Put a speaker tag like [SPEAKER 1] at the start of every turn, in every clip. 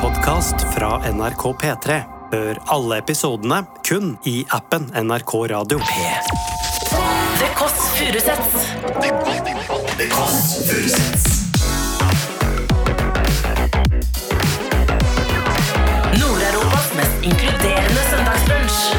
[SPEAKER 1] podkast fra NRK P3. Hør alle episodene kun i appen NRK Radio.
[SPEAKER 2] Det Kåss Furuseths. Nord-Europas mest inkluderende søndagsbrunsch.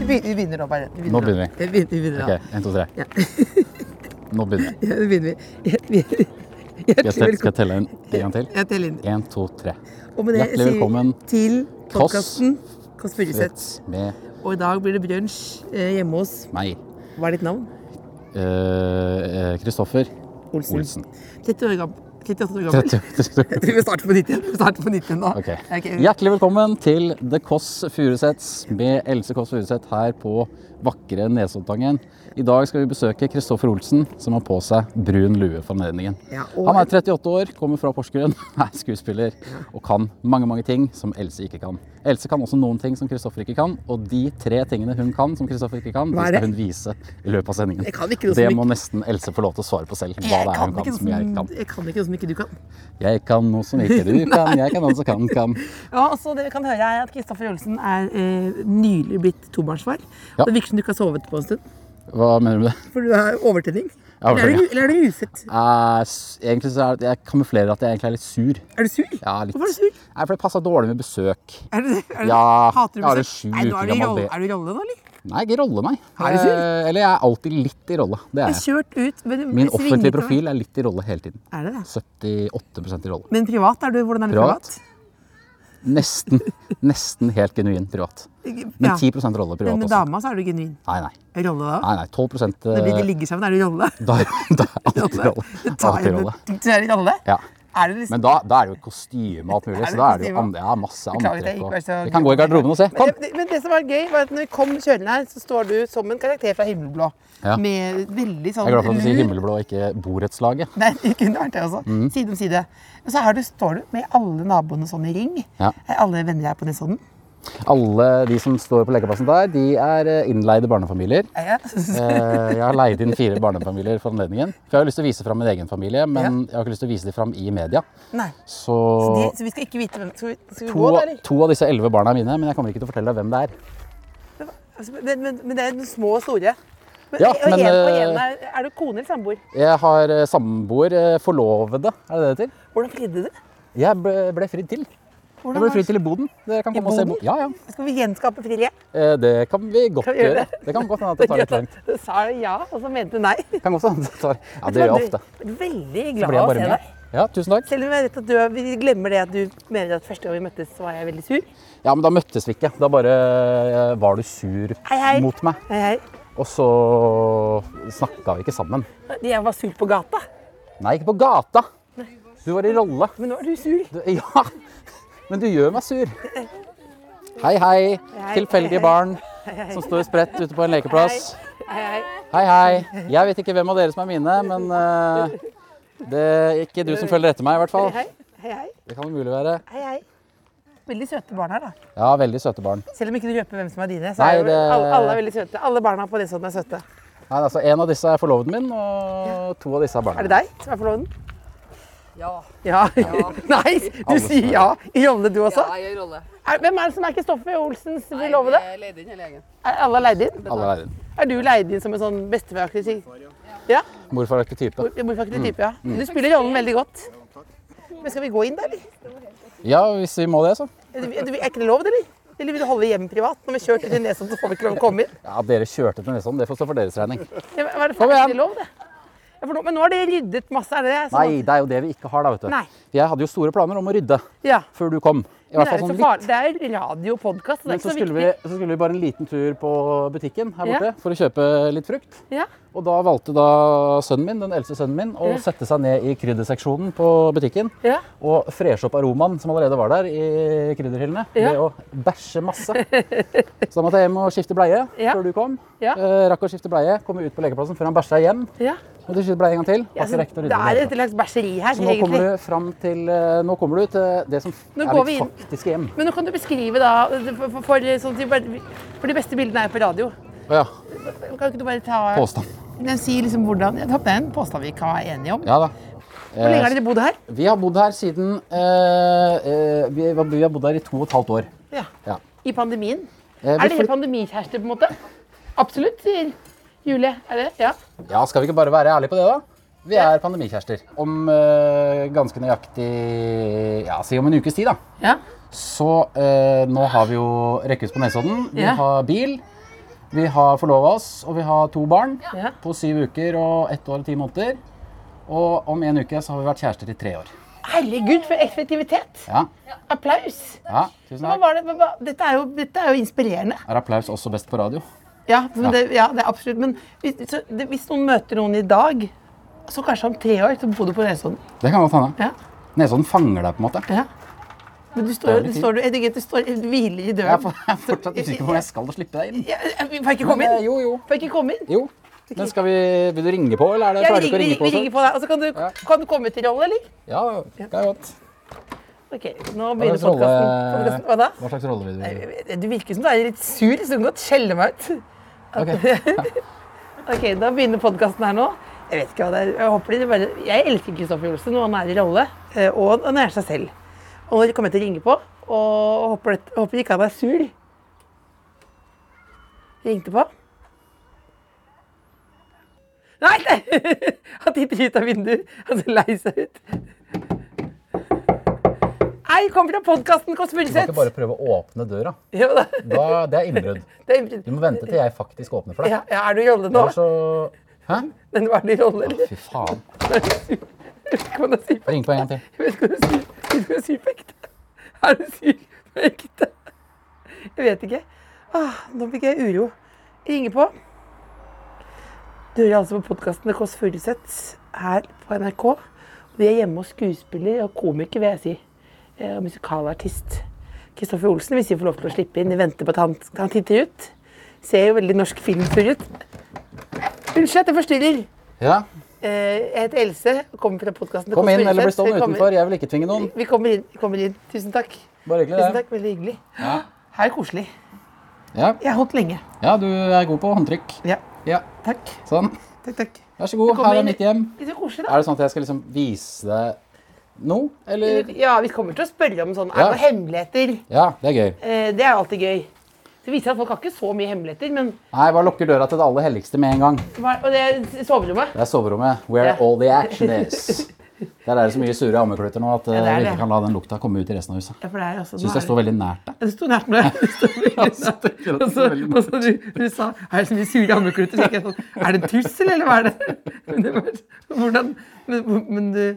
[SPEAKER 3] Vi be- vi begynner nå, bare.
[SPEAKER 4] Nå begynner vi.
[SPEAKER 3] Vi begynner, vi begynner nå.
[SPEAKER 4] Ok, en, to, tre. Nå begynner vi.
[SPEAKER 3] Ja, nå begynner vi. Hjertelig
[SPEAKER 4] Jeg skal, skal jeg telle en, en gang til?
[SPEAKER 3] Jeg teller inn.
[SPEAKER 4] En, to, tre.
[SPEAKER 3] Og med det
[SPEAKER 4] Hjertelig
[SPEAKER 3] sier vi
[SPEAKER 4] velkommen.
[SPEAKER 3] til
[SPEAKER 4] Kåss.
[SPEAKER 3] podkasten Kåss Furuseth.
[SPEAKER 4] Fritz med
[SPEAKER 3] Og i dag blir det brunsj eh, hjemme hos
[SPEAKER 4] meg.
[SPEAKER 3] Hva er ditt navn?
[SPEAKER 4] Eh, Kristoffer
[SPEAKER 3] Olsen.
[SPEAKER 4] Olsen.
[SPEAKER 3] 30 år gammel. 38 år gammel. Jeg tror vi starter på nytt igjen. Vi starter på nytt igjen nå.
[SPEAKER 4] Ok.
[SPEAKER 3] Ok.
[SPEAKER 4] Hjertelig velkommen til The Kåss Furuseths med Else Kåss Furuseth her på vakre Nesoddtangen. I dag skal vi besøke Kristoffer Olsen, som har på seg brun lue for anledningen.
[SPEAKER 3] Ja, og-
[SPEAKER 4] Han er 38 år, kommer fra Porsgrunn, er skuespiller og kan mange mange ting som Else ikke kan. Else kan også noen ting som Kristoffer ikke kan, og de tre tingene hun kan som Kristoffer ikke kan,
[SPEAKER 3] Hva
[SPEAKER 4] de
[SPEAKER 3] er
[SPEAKER 4] skal
[SPEAKER 3] det?
[SPEAKER 4] hun vise i løpet av sendingen.
[SPEAKER 3] Jeg kan ikke noe som
[SPEAKER 4] det
[SPEAKER 3] ikke-
[SPEAKER 4] må nesten Else få lov til å svare på selv, hva
[SPEAKER 3] Jeg
[SPEAKER 4] det er
[SPEAKER 3] ikke
[SPEAKER 4] hun kan
[SPEAKER 3] noe
[SPEAKER 4] som jeg ikke
[SPEAKER 3] som-
[SPEAKER 4] kan.
[SPEAKER 3] jeg kan ikke noe som ikke du kan.
[SPEAKER 4] Jeg kan noe som ikke du kan, jeg kan noe som kan kan.
[SPEAKER 3] Ja, altså det vi kan høre er at Kristoffer Olsen er eh, nylig blitt tobarnsfar.
[SPEAKER 4] Ja.
[SPEAKER 3] Det virker som du ikke har sovet på en stund.
[SPEAKER 4] Hva mener du med det?
[SPEAKER 3] For du har overtenning.
[SPEAKER 4] har
[SPEAKER 3] Eller er du-
[SPEAKER 4] overtenning,
[SPEAKER 3] eller er du ufødt?
[SPEAKER 4] Eh, s- egentlig så er det, jeg kamuflerer at jeg egentlig er litt sur.
[SPEAKER 3] Er du sur?
[SPEAKER 4] Ja, litt.
[SPEAKER 3] Hvorfor er du sur?
[SPEAKER 4] Nei, for det passa dårlig med besøk.
[SPEAKER 3] Er du, er du,
[SPEAKER 4] Ja,
[SPEAKER 3] hater du
[SPEAKER 4] jeg har en
[SPEAKER 3] besøk?
[SPEAKER 4] sju
[SPEAKER 3] Nei, nå er
[SPEAKER 4] uker
[SPEAKER 3] du i
[SPEAKER 4] gammel
[SPEAKER 3] rolle,
[SPEAKER 4] be-
[SPEAKER 3] er du i rolle nå, eller?
[SPEAKER 4] Nei, ikke rolle meg.
[SPEAKER 3] Er du sur?
[SPEAKER 4] Eh, eller jeg er alltid litt i rolle. Det er
[SPEAKER 3] Jeg
[SPEAKER 4] jeg.
[SPEAKER 3] kjørt ut men det
[SPEAKER 4] Min
[SPEAKER 3] svinger
[SPEAKER 4] offentlige
[SPEAKER 3] ikke meg.
[SPEAKER 4] profil er litt i rolle hele tiden.
[SPEAKER 3] Er det det?
[SPEAKER 4] 78 i rolle.
[SPEAKER 3] Men privat, er du, hvordan er du privat?
[SPEAKER 4] Privat? Nesten, nesten helt genuint privat. Men
[SPEAKER 3] Ja.
[SPEAKER 4] 10 rolle privat
[SPEAKER 3] Men med
[SPEAKER 4] også.
[SPEAKER 3] dama så er du genuin.
[SPEAKER 4] Nei, nei.
[SPEAKER 3] Rolle da?
[SPEAKER 4] nei, nei 12
[SPEAKER 3] Når
[SPEAKER 4] eh,
[SPEAKER 3] de ligger sammen, er du i rolle?
[SPEAKER 4] da, da er alltid rolle.
[SPEAKER 3] Det tar
[SPEAKER 4] Alltid
[SPEAKER 3] jo-
[SPEAKER 4] rolle.
[SPEAKER 3] Du er i rolle?
[SPEAKER 4] Ja.
[SPEAKER 3] Er det liksom
[SPEAKER 4] Men da, da er det jo kostyme og alt mulig.
[SPEAKER 3] Er
[SPEAKER 4] Så
[SPEAKER 3] det
[SPEAKER 4] da er det jo
[SPEAKER 3] kostyme?
[SPEAKER 4] andre, ja, masse
[SPEAKER 3] Beklager at jeg
[SPEAKER 4] antrekk.
[SPEAKER 3] ikke
[SPEAKER 4] og-
[SPEAKER 3] var så
[SPEAKER 4] Vi kan gå i garderoben og se. Kom!
[SPEAKER 3] Men det, men det som var gøy, var at når vi kom kjørende her, så står du som en karakter fra Himmelblå.
[SPEAKER 4] Ja.
[SPEAKER 3] Med veldig sånn
[SPEAKER 4] Jeg er glad for at du sier
[SPEAKER 3] lur-
[SPEAKER 4] himmelblå og ikke borettslaget.
[SPEAKER 3] Nei, det kunne vært det også.
[SPEAKER 4] Mm.
[SPEAKER 3] Side om side. Og så her du, står du med alle naboene sånn i ring.
[SPEAKER 4] Ja.
[SPEAKER 3] Er Alle venner her på Nesodden.
[SPEAKER 4] Alle de som står på lekeplassen der, de er eh, innleide barnefamilier.
[SPEAKER 3] Er jeg?
[SPEAKER 4] Eh, Jeg har leid inn fire barnefamilier for anledningen. For jeg har lyst til å vise fram min egen familie, men jeg har ikke lyst til å vise dem fram i media.
[SPEAKER 3] Nei.
[SPEAKER 4] Så
[SPEAKER 3] Så, de, så vi skal ikke vite hvem Skal vi, skal vi
[SPEAKER 4] to,
[SPEAKER 3] gå, da, eller?
[SPEAKER 4] to av disse elleve barna er mine, men jeg kommer ikke til å fortelle deg hvem det er.
[SPEAKER 3] Altså, Men, men, men det er de små og store. Men,
[SPEAKER 4] Ja,
[SPEAKER 3] og
[SPEAKER 4] men,
[SPEAKER 3] en, og
[SPEAKER 4] eh,
[SPEAKER 3] en er, er du kone eller samboer?
[SPEAKER 4] Jeg har eh, samboer, eh, forlovede, er det det det heter?
[SPEAKER 3] Hvordan fridde du?
[SPEAKER 4] Jeg ble, ble fridd til. Jeg
[SPEAKER 3] Hvordan
[SPEAKER 4] ble
[SPEAKER 3] var-
[SPEAKER 4] fridd til i boden. Dere kan
[SPEAKER 3] I
[SPEAKER 4] komme og se
[SPEAKER 3] boden?
[SPEAKER 4] bo- Ja, ja.
[SPEAKER 3] Skal vi gjenskape frieriet?
[SPEAKER 4] Eh, Det kan vi godt
[SPEAKER 3] Kan vi gjøre
[SPEAKER 4] gjøre.
[SPEAKER 3] det?
[SPEAKER 4] Det kan godt hende at det tar litt langt.
[SPEAKER 3] Du sa ja, og så mente du nei.
[SPEAKER 4] Det Kan godt hende at det tar... Ja, det gjør jeg ofte.
[SPEAKER 3] Du er Veldig
[SPEAKER 4] Så
[SPEAKER 3] glad å
[SPEAKER 4] blir jeg
[SPEAKER 3] se
[SPEAKER 4] bare
[SPEAKER 3] deg.
[SPEAKER 4] med. Ja, tusen takk.
[SPEAKER 3] Selv om jeg vet at du, vi glemmer det at du mener at første gang vi møttes, så var jeg veldig sur.
[SPEAKER 4] Ja, men da møttes vi ikke. Da bare eh, var du sur
[SPEAKER 3] Hei, hei.
[SPEAKER 4] mot meg.
[SPEAKER 3] Hei, hei.
[SPEAKER 4] Og så snakka vi ikke sammen.
[SPEAKER 3] Jeg var sur på gata,
[SPEAKER 4] Nei, ikke på gata. Du var i rolle.
[SPEAKER 3] men nå er du sur.
[SPEAKER 4] Du, ja, men du gjør meg sur. Hei,
[SPEAKER 3] Hei,
[SPEAKER 4] hei.
[SPEAKER 3] hei, hei.
[SPEAKER 4] Tilfeldige barn som står spredt ute på en lekeplass.
[SPEAKER 3] Hei, hei.
[SPEAKER 4] Hei, hei. Jeg vet ikke hvem av dere som er mine, men eh, det er ikke du som følger etter meg, i hvert fall.
[SPEAKER 3] Hei, hei. hei,
[SPEAKER 4] Det kan mulig være.
[SPEAKER 3] hei, hei. Veldig søte barn her, da.
[SPEAKER 4] Ja, veldig søte barn.
[SPEAKER 3] Selv om ikke du røper hvem som er dine, så
[SPEAKER 4] Nei,
[SPEAKER 3] er jo
[SPEAKER 4] det-
[SPEAKER 3] alle, alle er veldig søte. Alle barna på det sånn er søte.
[SPEAKER 4] Nei, altså, En av disse er forloveden min, og to av disse er barna.
[SPEAKER 3] Er det deg som er forloven? Ja. ja. Nei, du
[SPEAKER 4] Alle som
[SPEAKER 3] sier
[SPEAKER 4] er-
[SPEAKER 3] ja i rollene du også?
[SPEAKER 5] Ja, jeg gjør rolle.
[SPEAKER 3] Er, hvem er det som er Kristoffer Olsens forlovede?
[SPEAKER 5] Jeg leide inn hele gjengen.
[SPEAKER 3] Er alle leid inn?
[SPEAKER 4] Alle er en
[SPEAKER 3] Er du leid inn som en sånn besteforaktig type? Ja.
[SPEAKER 4] morfaraktig type.
[SPEAKER 3] Morfaraktig type, ja.
[SPEAKER 4] Mm.
[SPEAKER 3] Du spiller rollen veldig godt. Men skal vi gå inn, da, eller?
[SPEAKER 4] Ja, hvis vi må det, så.
[SPEAKER 3] Er det- er det- er ikke det lov, eller? Eller vil du holde hjemme privat? Når vi kjører til Nesodden, så får vi ikke lov å komme inn.
[SPEAKER 4] Ja, Dere kjørte til Nesodden, det får stå for deres regning.
[SPEAKER 3] Ja, men Er det
[SPEAKER 4] Kom igjen.
[SPEAKER 3] faktisk lov, det? Ja, for nå, men nå har det ryddet masse, er det det? Sånn
[SPEAKER 4] Nei, det er jo det vi ikke har, da, vet du.
[SPEAKER 3] Nei.
[SPEAKER 4] Jeg hadde jo store planer om å rydde
[SPEAKER 3] at- Ja.
[SPEAKER 4] før du kom. I
[SPEAKER 3] Men
[SPEAKER 4] hvert
[SPEAKER 3] det er
[SPEAKER 4] fall
[SPEAKER 3] jo
[SPEAKER 4] sånn
[SPEAKER 3] så
[SPEAKER 4] litt.
[SPEAKER 3] farlig. Det er radiopodkast, så det er
[SPEAKER 4] Men
[SPEAKER 3] ikke
[SPEAKER 4] så
[SPEAKER 3] så
[SPEAKER 4] skulle,
[SPEAKER 3] viktig.
[SPEAKER 4] vi, så skulle vi bare en liten tur på butikken her
[SPEAKER 3] Ja.
[SPEAKER 4] borte for å kjøpe litt frukt.
[SPEAKER 3] Ja.
[SPEAKER 4] Og da valgte da sønnen min, den eldste sønnen min å
[SPEAKER 3] Ja.
[SPEAKER 4] sette seg ned i krydderseksjonen på butikken
[SPEAKER 3] Ja.
[SPEAKER 4] og freshe opp aromaen som allerede var der i krydderhyllene
[SPEAKER 3] Ja.
[SPEAKER 4] ved å bæsje masse. Så da måtte jeg hjem og skifte bleie
[SPEAKER 3] Ja.
[SPEAKER 4] før du kom.
[SPEAKER 3] Ja.
[SPEAKER 4] Eh, rakk å skifte bleie, komme ut på lekeplassen før han bæsja igjen.
[SPEAKER 3] ja.
[SPEAKER 4] Måtte skifte bleie en gang til.
[SPEAKER 3] Ja, så
[SPEAKER 4] Har ikke
[SPEAKER 3] Altså, det
[SPEAKER 4] rekt å rydde den
[SPEAKER 3] er
[SPEAKER 4] hele
[SPEAKER 3] et slags bæsjeri her,
[SPEAKER 4] Så nå kommer
[SPEAKER 3] egentlig.
[SPEAKER 4] du fram til eh, Nå kommer du til det som
[SPEAKER 3] Nå
[SPEAKER 4] er
[SPEAKER 3] går vi
[SPEAKER 4] ditt
[SPEAKER 3] inn.
[SPEAKER 4] faktiske hjem.
[SPEAKER 3] Men nå kan du beskrive, da, for, for, for, sånn, at vi bare- for de beste bildene er jo på radio.
[SPEAKER 4] Å ja.
[SPEAKER 3] Kan ikke du bare ta
[SPEAKER 4] Påstand.
[SPEAKER 3] Den sier liksom hvordan Jeg håper det er en påstand vi kan være enige om.
[SPEAKER 4] Ja da.
[SPEAKER 3] Hvor lenge har dere bodd her?
[SPEAKER 4] Vi har bodd her siden eh, eh, vi, vi har bodd her i to og et halvt år.
[SPEAKER 3] Ja.
[SPEAKER 4] Ja.
[SPEAKER 3] I pandemien?
[SPEAKER 4] Eh, vi
[SPEAKER 3] Er dere
[SPEAKER 4] flytt-
[SPEAKER 3] pandemikjærester, på en måte? Absolutt, sier Julie. Er det? Ja.
[SPEAKER 4] Ja, skal vi ikke bare være ærlige på det, da? Vi er pandemikjærester. Om eh, ganske nøyaktig Ja, si om en ukes tid, da.
[SPEAKER 3] ja.
[SPEAKER 4] Så eh, nå har vi jo rekkehus på Nesodden. Vi
[SPEAKER 3] Ja.
[SPEAKER 4] har bil. Vi har forlova oss, og vi har to barn
[SPEAKER 3] Ja.
[SPEAKER 4] på syv uker og ett år og ti måneder. Og om en uke så har vi vært kjærester i tre år.
[SPEAKER 3] Herregud, for effektivitet!
[SPEAKER 4] Ja,
[SPEAKER 3] Applaus!
[SPEAKER 4] ja tusen
[SPEAKER 3] Hva
[SPEAKER 4] takk.
[SPEAKER 3] var det? Hva- hva- Dette er jo, dette er jo inspirerende.
[SPEAKER 4] Er applaus også best på radio?
[SPEAKER 3] Ja, men det, ja, det er absolutt. Men hvis, så, det, hvis noen møter noen i dag, så kanskje om tre år, så bor du på Nesodden.
[SPEAKER 4] Det kan godt hende.
[SPEAKER 3] Ja.
[SPEAKER 4] Nesodden fanger deg, på en måte.
[SPEAKER 3] ja. Men du
[SPEAKER 4] Det er
[SPEAKER 3] står,
[SPEAKER 4] litt
[SPEAKER 3] du
[SPEAKER 4] tid.
[SPEAKER 3] står, jeg tenker at du står helt hviler i
[SPEAKER 4] Jeg er
[SPEAKER 3] døren.
[SPEAKER 4] for- jeg er fortsatt usikker på om jeg skal slippe deg inn.
[SPEAKER 3] Ja, Vi får ikke komme
[SPEAKER 4] Men, eh,
[SPEAKER 3] inn.
[SPEAKER 4] Jo, jo.
[SPEAKER 3] Får ikke komme inn.
[SPEAKER 4] Jo. Men skal vi, vil du ringe på, eller er det
[SPEAKER 3] Ja, vi
[SPEAKER 4] klarer du ikke å
[SPEAKER 3] ringer,
[SPEAKER 4] ringe på? sånn.
[SPEAKER 3] vi ringer på deg. Og så kan du,
[SPEAKER 4] Ja.
[SPEAKER 3] kan du komme til rolle, eller?
[SPEAKER 4] Ja, det er godt.
[SPEAKER 3] Ok, nå
[SPEAKER 4] Hva
[SPEAKER 3] begynner
[SPEAKER 4] slags rolle-
[SPEAKER 3] podkasten. Hva da?
[SPEAKER 4] Hva slags rolle vil du
[SPEAKER 3] Du virker som du er litt sur, så du kan godt skjelle meg ut.
[SPEAKER 4] Ok.
[SPEAKER 3] Ok, Da begynner podkasten her nå. Jeg vet ikke hva det er. Jeg, håper dere bare... jeg elsker Kristoffer Olsen, og han er i rolle. eh, Og han er seg selv. Og nå kommer jeg til å ringe på, og håper, det- håper ikke han er sur. Ringte på. Nei! nei. Han titter ut av vinduet. Han ser lei seg ut. Hei, kom fra podkasten Kåss
[SPEAKER 4] Du kan
[SPEAKER 3] Furuseth.
[SPEAKER 4] ikke bare prøve å åpne døra.
[SPEAKER 3] Jo da.
[SPEAKER 4] Da, det er innbrudd.
[SPEAKER 3] Det er innbrudd.
[SPEAKER 4] Du må vente til jeg faktisk åpner for deg.
[SPEAKER 3] Ja, ja, er du i rolle nå?
[SPEAKER 4] Eller så Hæ?
[SPEAKER 3] Men var du i rolle, eller?
[SPEAKER 4] Fy faen.
[SPEAKER 3] Kan du si
[SPEAKER 4] Ring på en gang til.
[SPEAKER 3] Jeg vet ikke hva du sier. Vet ikke hva du sier på ekte. Er du syk på ekte? Jeg vet ikke. Ah, nå fikk jeg uro. Jeg ringer på. Du hører altså på podkasten Det Kåss Furuseth her på NRK. Og vi er hjemme hos skuespiller og komiker, vil jeg si. Eh, Og musikalartist. Kristoffer Olsen, hvis vi får lov til å slippe inn. Vi venter på at han, han titter ut. Ser jo veldig norsk filmtur ut. Unnskyld at jeg forstyrrer.
[SPEAKER 4] Ja,
[SPEAKER 3] Eh, Jeg heter Else og kommer fra podkasten
[SPEAKER 4] Kom inn, eller bli stående utenfor. Jeg vil ikke tvinge noen.
[SPEAKER 3] Vi kommer inn. Vi kommer inn. Tusen takk.
[SPEAKER 4] Bare hyggelig,
[SPEAKER 3] Tusen
[SPEAKER 4] det.
[SPEAKER 3] takk, Veldig hyggelig.
[SPEAKER 4] Ja.
[SPEAKER 3] Her er koselig.
[SPEAKER 4] Ja.
[SPEAKER 3] Jeg har holdt lenge.
[SPEAKER 4] ja, du er god på håndtrykk.
[SPEAKER 3] Ja.
[SPEAKER 4] Ja,
[SPEAKER 3] Takk.
[SPEAKER 4] Sånn.
[SPEAKER 3] Takk, takk.
[SPEAKER 4] Vær så god,
[SPEAKER 3] Kom
[SPEAKER 4] her
[SPEAKER 3] inn.
[SPEAKER 4] er mitt hjem.
[SPEAKER 3] Litt så koselig, da.
[SPEAKER 4] Er det sånn at jeg skal liksom vise deg noe, eller
[SPEAKER 3] Ja, vi kommer til å spørre om sånn. Er
[SPEAKER 4] Ja.
[SPEAKER 3] det noen hemmeligheter?
[SPEAKER 4] Ja, det er gøy.
[SPEAKER 3] Eh, Det er alltid gøy. Det viser at folk har ikke så mye hemmeligheter, men
[SPEAKER 4] Nei, bare lukker døra til det aller helligste med en gang.
[SPEAKER 3] hva- Og det er soverommet.
[SPEAKER 4] Det er soverommet. Where
[SPEAKER 3] Ja.
[SPEAKER 4] all the action is. Der er det så mye sure ammekluter nå at eh,
[SPEAKER 3] Ja, det er
[SPEAKER 4] vi
[SPEAKER 3] det.
[SPEAKER 4] ikke kan la den lukta komme ut i resten av huset.
[SPEAKER 3] Ja, for det er altså- også
[SPEAKER 4] Syns jeg står veldig nært deg.
[SPEAKER 3] Det sto nært meg. Det sto veldig nært. Og så, og så du, du sa Er det så mye sure ammeklutter? Så tenkte jeg sånn Er det en tussel, eller hva er det? Men det var, hvordan men, men du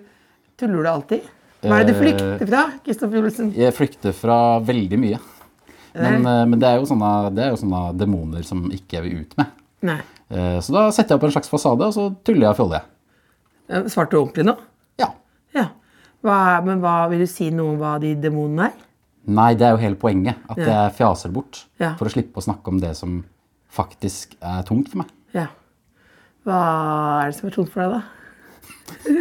[SPEAKER 3] Tuller du alltid? Hva er det du
[SPEAKER 4] Eh,
[SPEAKER 3] flykter fra, Kristoffer Olsen?
[SPEAKER 4] Jeg flykter fra veldig mye. Men, eh, men det er jo sånne, det er jo sånne demoner som ikke jeg vil ut med.
[SPEAKER 3] Nei.
[SPEAKER 4] Eh, Så da setter jeg opp en slags fasade, og så tuller jeg og fjoller. jeg.
[SPEAKER 3] Eh, Svarte du ordentlig nå?
[SPEAKER 4] Ja.
[SPEAKER 3] Ja. Hva, men hva vil du si noe om hva de demonene er?
[SPEAKER 4] Nei, det er jo hele poenget. At jeg fjaser bort.
[SPEAKER 3] Ja.
[SPEAKER 4] For å slippe å snakke om det som faktisk er tungt for meg.
[SPEAKER 3] Ja. Hva er det som er tungt for deg, da?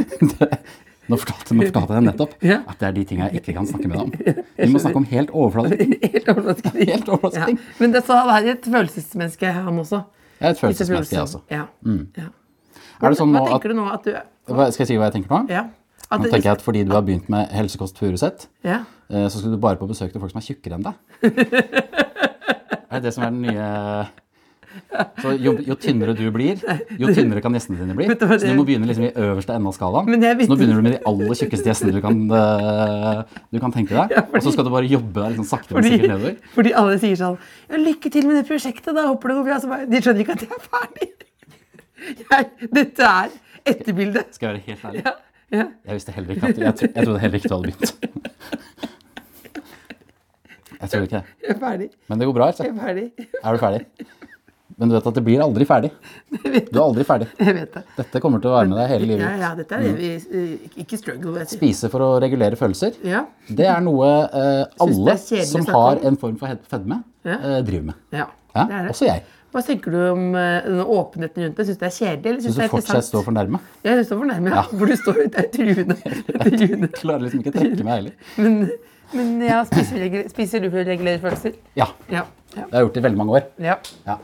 [SPEAKER 4] Nå fortalte, nå fortalte jeg nettopp
[SPEAKER 3] Ja.
[SPEAKER 4] at det er de tinga jeg ikke kan snakke med deg om. Vi må snakke om helt overfladiske ting.
[SPEAKER 3] Helt overraskende.
[SPEAKER 4] Helt overraskende ting.
[SPEAKER 3] Ja. Men det, så han er et følelsesmenneske, han også.
[SPEAKER 4] Jeg er et følelsesmenneske, jeg også.
[SPEAKER 3] Kristoffer Olsen. Ja. ja.
[SPEAKER 4] Er det sånn nå
[SPEAKER 3] Hva
[SPEAKER 4] at,
[SPEAKER 3] tenker du nå at du
[SPEAKER 4] hva- skal jeg si hva jeg tenker nå?
[SPEAKER 3] Ja. At
[SPEAKER 4] Nå
[SPEAKER 3] det-
[SPEAKER 4] tenker jeg at Fordi du har begynt med helsekost Furuset,
[SPEAKER 3] ja.
[SPEAKER 4] eh, så skal du bare på besøk til folk som er tjukkere enn deg. Er det det som er den nye Så jo, jo tynnere du blir, jo tynnere kan gjestene dine bli.
[SPEAKER 3] Vet du hva
[SPEAKER 4] Så
[SPEAKER 3] det-
[SPEAKER 4] du må begynne liksom i øverste enden av skalaen.
[SPEAKER 3] Men jeg
[SPEAKER 4] Så
[SPEAKER 3] visste
[SPEAKER 4] nå begynner du med de aller tjukkeste gjestene du kan, eh, du kan tenke deg.
[SPEAKER 3] Ja, fordi-
[SPEAKER 4] Og så skal du bare jobbe deg liksom sakte, men
[SPEAKER 3] Fordi,
[SPEAKER 4] sikkert nedover.
[SPEAKER 3] fordi alle sier sånn ja, 'Lykke til med det prosjektet, da. Håper det går bra.' Så bare, de skjønner ikke at jeg er ferdig. Jeg, dette er etterbildet.
[SPEAKER 4] Skal jeg være helt ærlig?
[SPEAKER 3] Ja, ja.
[SPEAKER 4] Jeg visste heller ikke at Jeg, tro- jeg trodde heller ikke du hadde begynt. Jeg tror ikke det.
[SPEAKER 3] Jeg er ferdig.
[SPEAKER 4] Men det går bra. altså.
[SPEAKER 3] Jeg er ferdig.
[SPEAKER 4] Er du ferdig? Men du vet at det blir aldri ferdig. Du er aldri ferdig.
[SPEAKER 3] Jeg vet det.
[SPEAKER 4] Dette kommer til å være med deg hele
[SPEAKER 3] Ja,
[SPEAKER 4] livet. Mm.
[SPEAKER 3] ja, dette er det vi eh, Ikke struggle, vet du.
[SPEAKER 4] Spise for å regulere følelser.
[SPEAKER 3] Ja.
[SPEAKER 4] Det er noe eh, alle
[SPEAKER 3] Synes det er kjedelig
[SPEAKER 4] som
[SPEAKER 3] å snakke
[SPEAKER 4] har
[SPEAKER 3] om.
[SPEAKER 4] en form for he- fedme,
[SPEAKER 3] Ja.
[SPEAKER 4] eh, driver med.
[SPEAKER 3] ja.
[SPEAKER 4] Ja,
[SPEAKER 3] Det er det.
[SPEAKER 4] også jeg.
[SPEAKER 3] Hva tenker du om eh, denne åpenheten rundt det? Syns du det er kjedelig? eller synes
[SPEAKER 4] Hvis
[SPEAKER 3] det er
[SPEAKER 4] du fortsatt
[SPEAKER 3] interessant?
[SPEAKER 4] står for nærme.
[SPEAKER 3] Ja, du står for nærme. Ja. Hvor du står, det er truende. truende.
[SPEAKER 4] Klarer liksom ikke å trekke meg heller.
[SPEAKER 3] Men, men ja, spiser, regul- spiser du for å regulere følelser?
[SPEAKER 4] Ja.
[SPEAKER 3] Ja. ja.
[SPEAKER 4] Det har jeg gjort i veldig mange år.
[SPEAKER 3] ja.
[SPEAKER 4] Ja.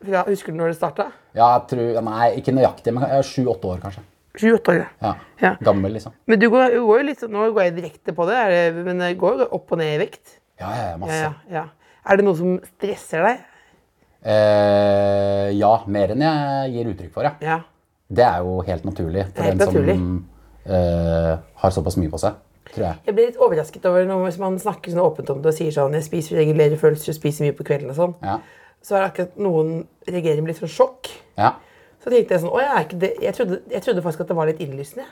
[SPEAKER 3] Fra, husker du når det starta?
[SPEAKER 4] Ja, jeg tror, nei, ikke nøyaktig, men jeg er sju-åtte år, kanskje.
[SPEAKER 3] Sju-åtte år.
[SPEAKER 4] Ja.
[SPEAKER 3] Ja.
[SPEAKER 4] Gammel, liksom.
[SPEAKER 3] Men du går, du går jo litt sånn, nå går jeg direkte på det, er det, men det går jo opp og ned i vekt.
[SPEAKER 4] Ja, ja, ja,
[SPEAKER 3] Ja,
[SPEAKER 4] masse.
[SPEAKER 3] ja, ja. Er det noe som stresser deg?
[SPEAKER 4] Eh, ja, mer enn jeg gir uttrykk for, ja.
[SPEAKER 3] Ja.
[SPEAKER 4] Det er jo helt naturlig for
[SPEAKER 3] Helt
[SPEAKER 4] en som
[SPEAKER 3] naturlig.
[SPEAKER 4] eh, har såpass mye på seg, tror jeg.
[SPEAKER 3] Jeg blir litt overrasket over når hvis man snakker sånn åpent om det og sier sånn Jeg spiser regulære følelser, jeg spiser mye på kvelden og sånn.
[SPEAKER 4] Ja.
[SPEAKER 3] Så er det akkurat noen reagerer med litt sånn sjokk.
[SPEAKER 4] Ja.
[SPEAKER 3] Så tenkte jeg sånn Å, jeg er ikke det jeg trodde, jeg trodde faktisk at det var litt innlysende.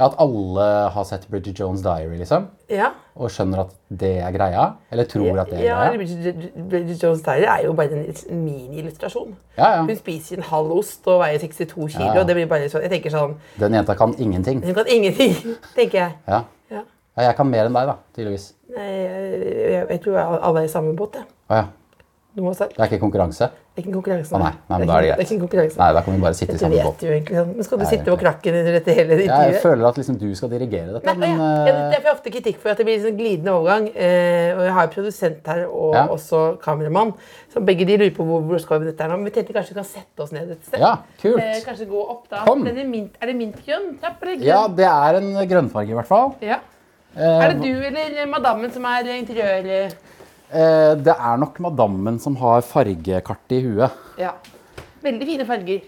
[SPEAKER 4] ja, at alle har sett Bridget Jones' Diary, liksom,
[SPEAKER 3] Ja.
[SPEAKER 4] og skjønner at det er greia, eller tror at det er
[SPEAKER 3] ja,
[SPEAKER 4] greia.
[SPEAKER 3] Bridget Bridget Jones Dyer er jo bare en liten mini-illustrasjon.
[SPEAKER 4] Ja, ja.
[SPEAKER 3] Hun spiser en halv ost og veier 62 kilo.
[SPEAKER 4] Ja, ja.
[SPEAKER 3] og det blir bare sånn, Jeg tenker sånn
[SPEAKER 4] Den jenta kan ingenting.
[SPEAKER 3] Hun kan ingenting, tenker jeg.
[SPEAKER 4] Ja.
[SPEAKER 3] Ja.
[SPEAKER 4] ja, jeg kan mer enn deg, da, tydeligvis.
[SPEAKER 3] Nei, jeg, jeg, jeg tror alle er i samme båt. jeg.
[SPEAKER 4] Å ja.
[SPEAKER 3] Du må ha sagt.
[SPEAKER 4] Det er ikke konkurranse?
[SPEAKER 3] Det er ikke en konkurranse.
[SPEAKER 4] Å nei, nei, men
[SPEAKER 3] det
[SPEAKER 4] da
[SPEAKER 3] ikke-
[SPEAKER 4] er det greit.
[SPEAKER 3] Det er ikke en konkurranse.
[SPEAKER 4] Nei, da kan vi bare sitte i
[SPEAKER 3] Dette
[SPEAKER 4] samme
[SPEAKER 3] vet
[SPEAKER 4] båt.
[SPEAKER 3] du jo egentlig. sånn. Men skal du
[SPEAKER 4] Ja,
[SPEAKER 3] sitte på
[SPEAKER 4] egentlig.
[SPEAKER 3] krakken under dette hele ditt
[SPEAKER 4] Jeg
[SPEAKER 3] livet?
[SPEAKER 4] føler at liksom du skal dirigere dette,
[SPEAKER 3] Nei,
[SPEAKER 4] men
[SPEAKER 3] ja,
[SPEAKER 4] eh,
[SPEAKER 3] jeg får ofte kritikk for at det blir en sånn glidende overgang. Eh, og jeg har jo produsent her, og
[SPEAKER 4] Ja.
[SPEAKER 3] også kameramann. Så begge de lurer på hvor, hvor skal vi med dette her nå. Men vi tenkte kanskje vi kan sette oss ned et sted.
[SPEAKER 4] Ja, kult.
[SPEAKER 3] Eh, kanskje gå opp da.
[SPEAKER 4] Kom.
[SPEAKER 3] Den er, mint, er det mintgrønn trapp eller grønn?
[SPEAKER 4] Ja, det er en grønnfarge i hvert fall.
[SPEAKER 3] Ja.
[SPEAKER 4] Eh,
[SPEAKER 3] Er det du eller madammen som er interiør...
[SPEAKER 4] eh, det er nok madammen som har fargekartet i huet.
[SPEAKER 3] Ja. Veldig fine farger.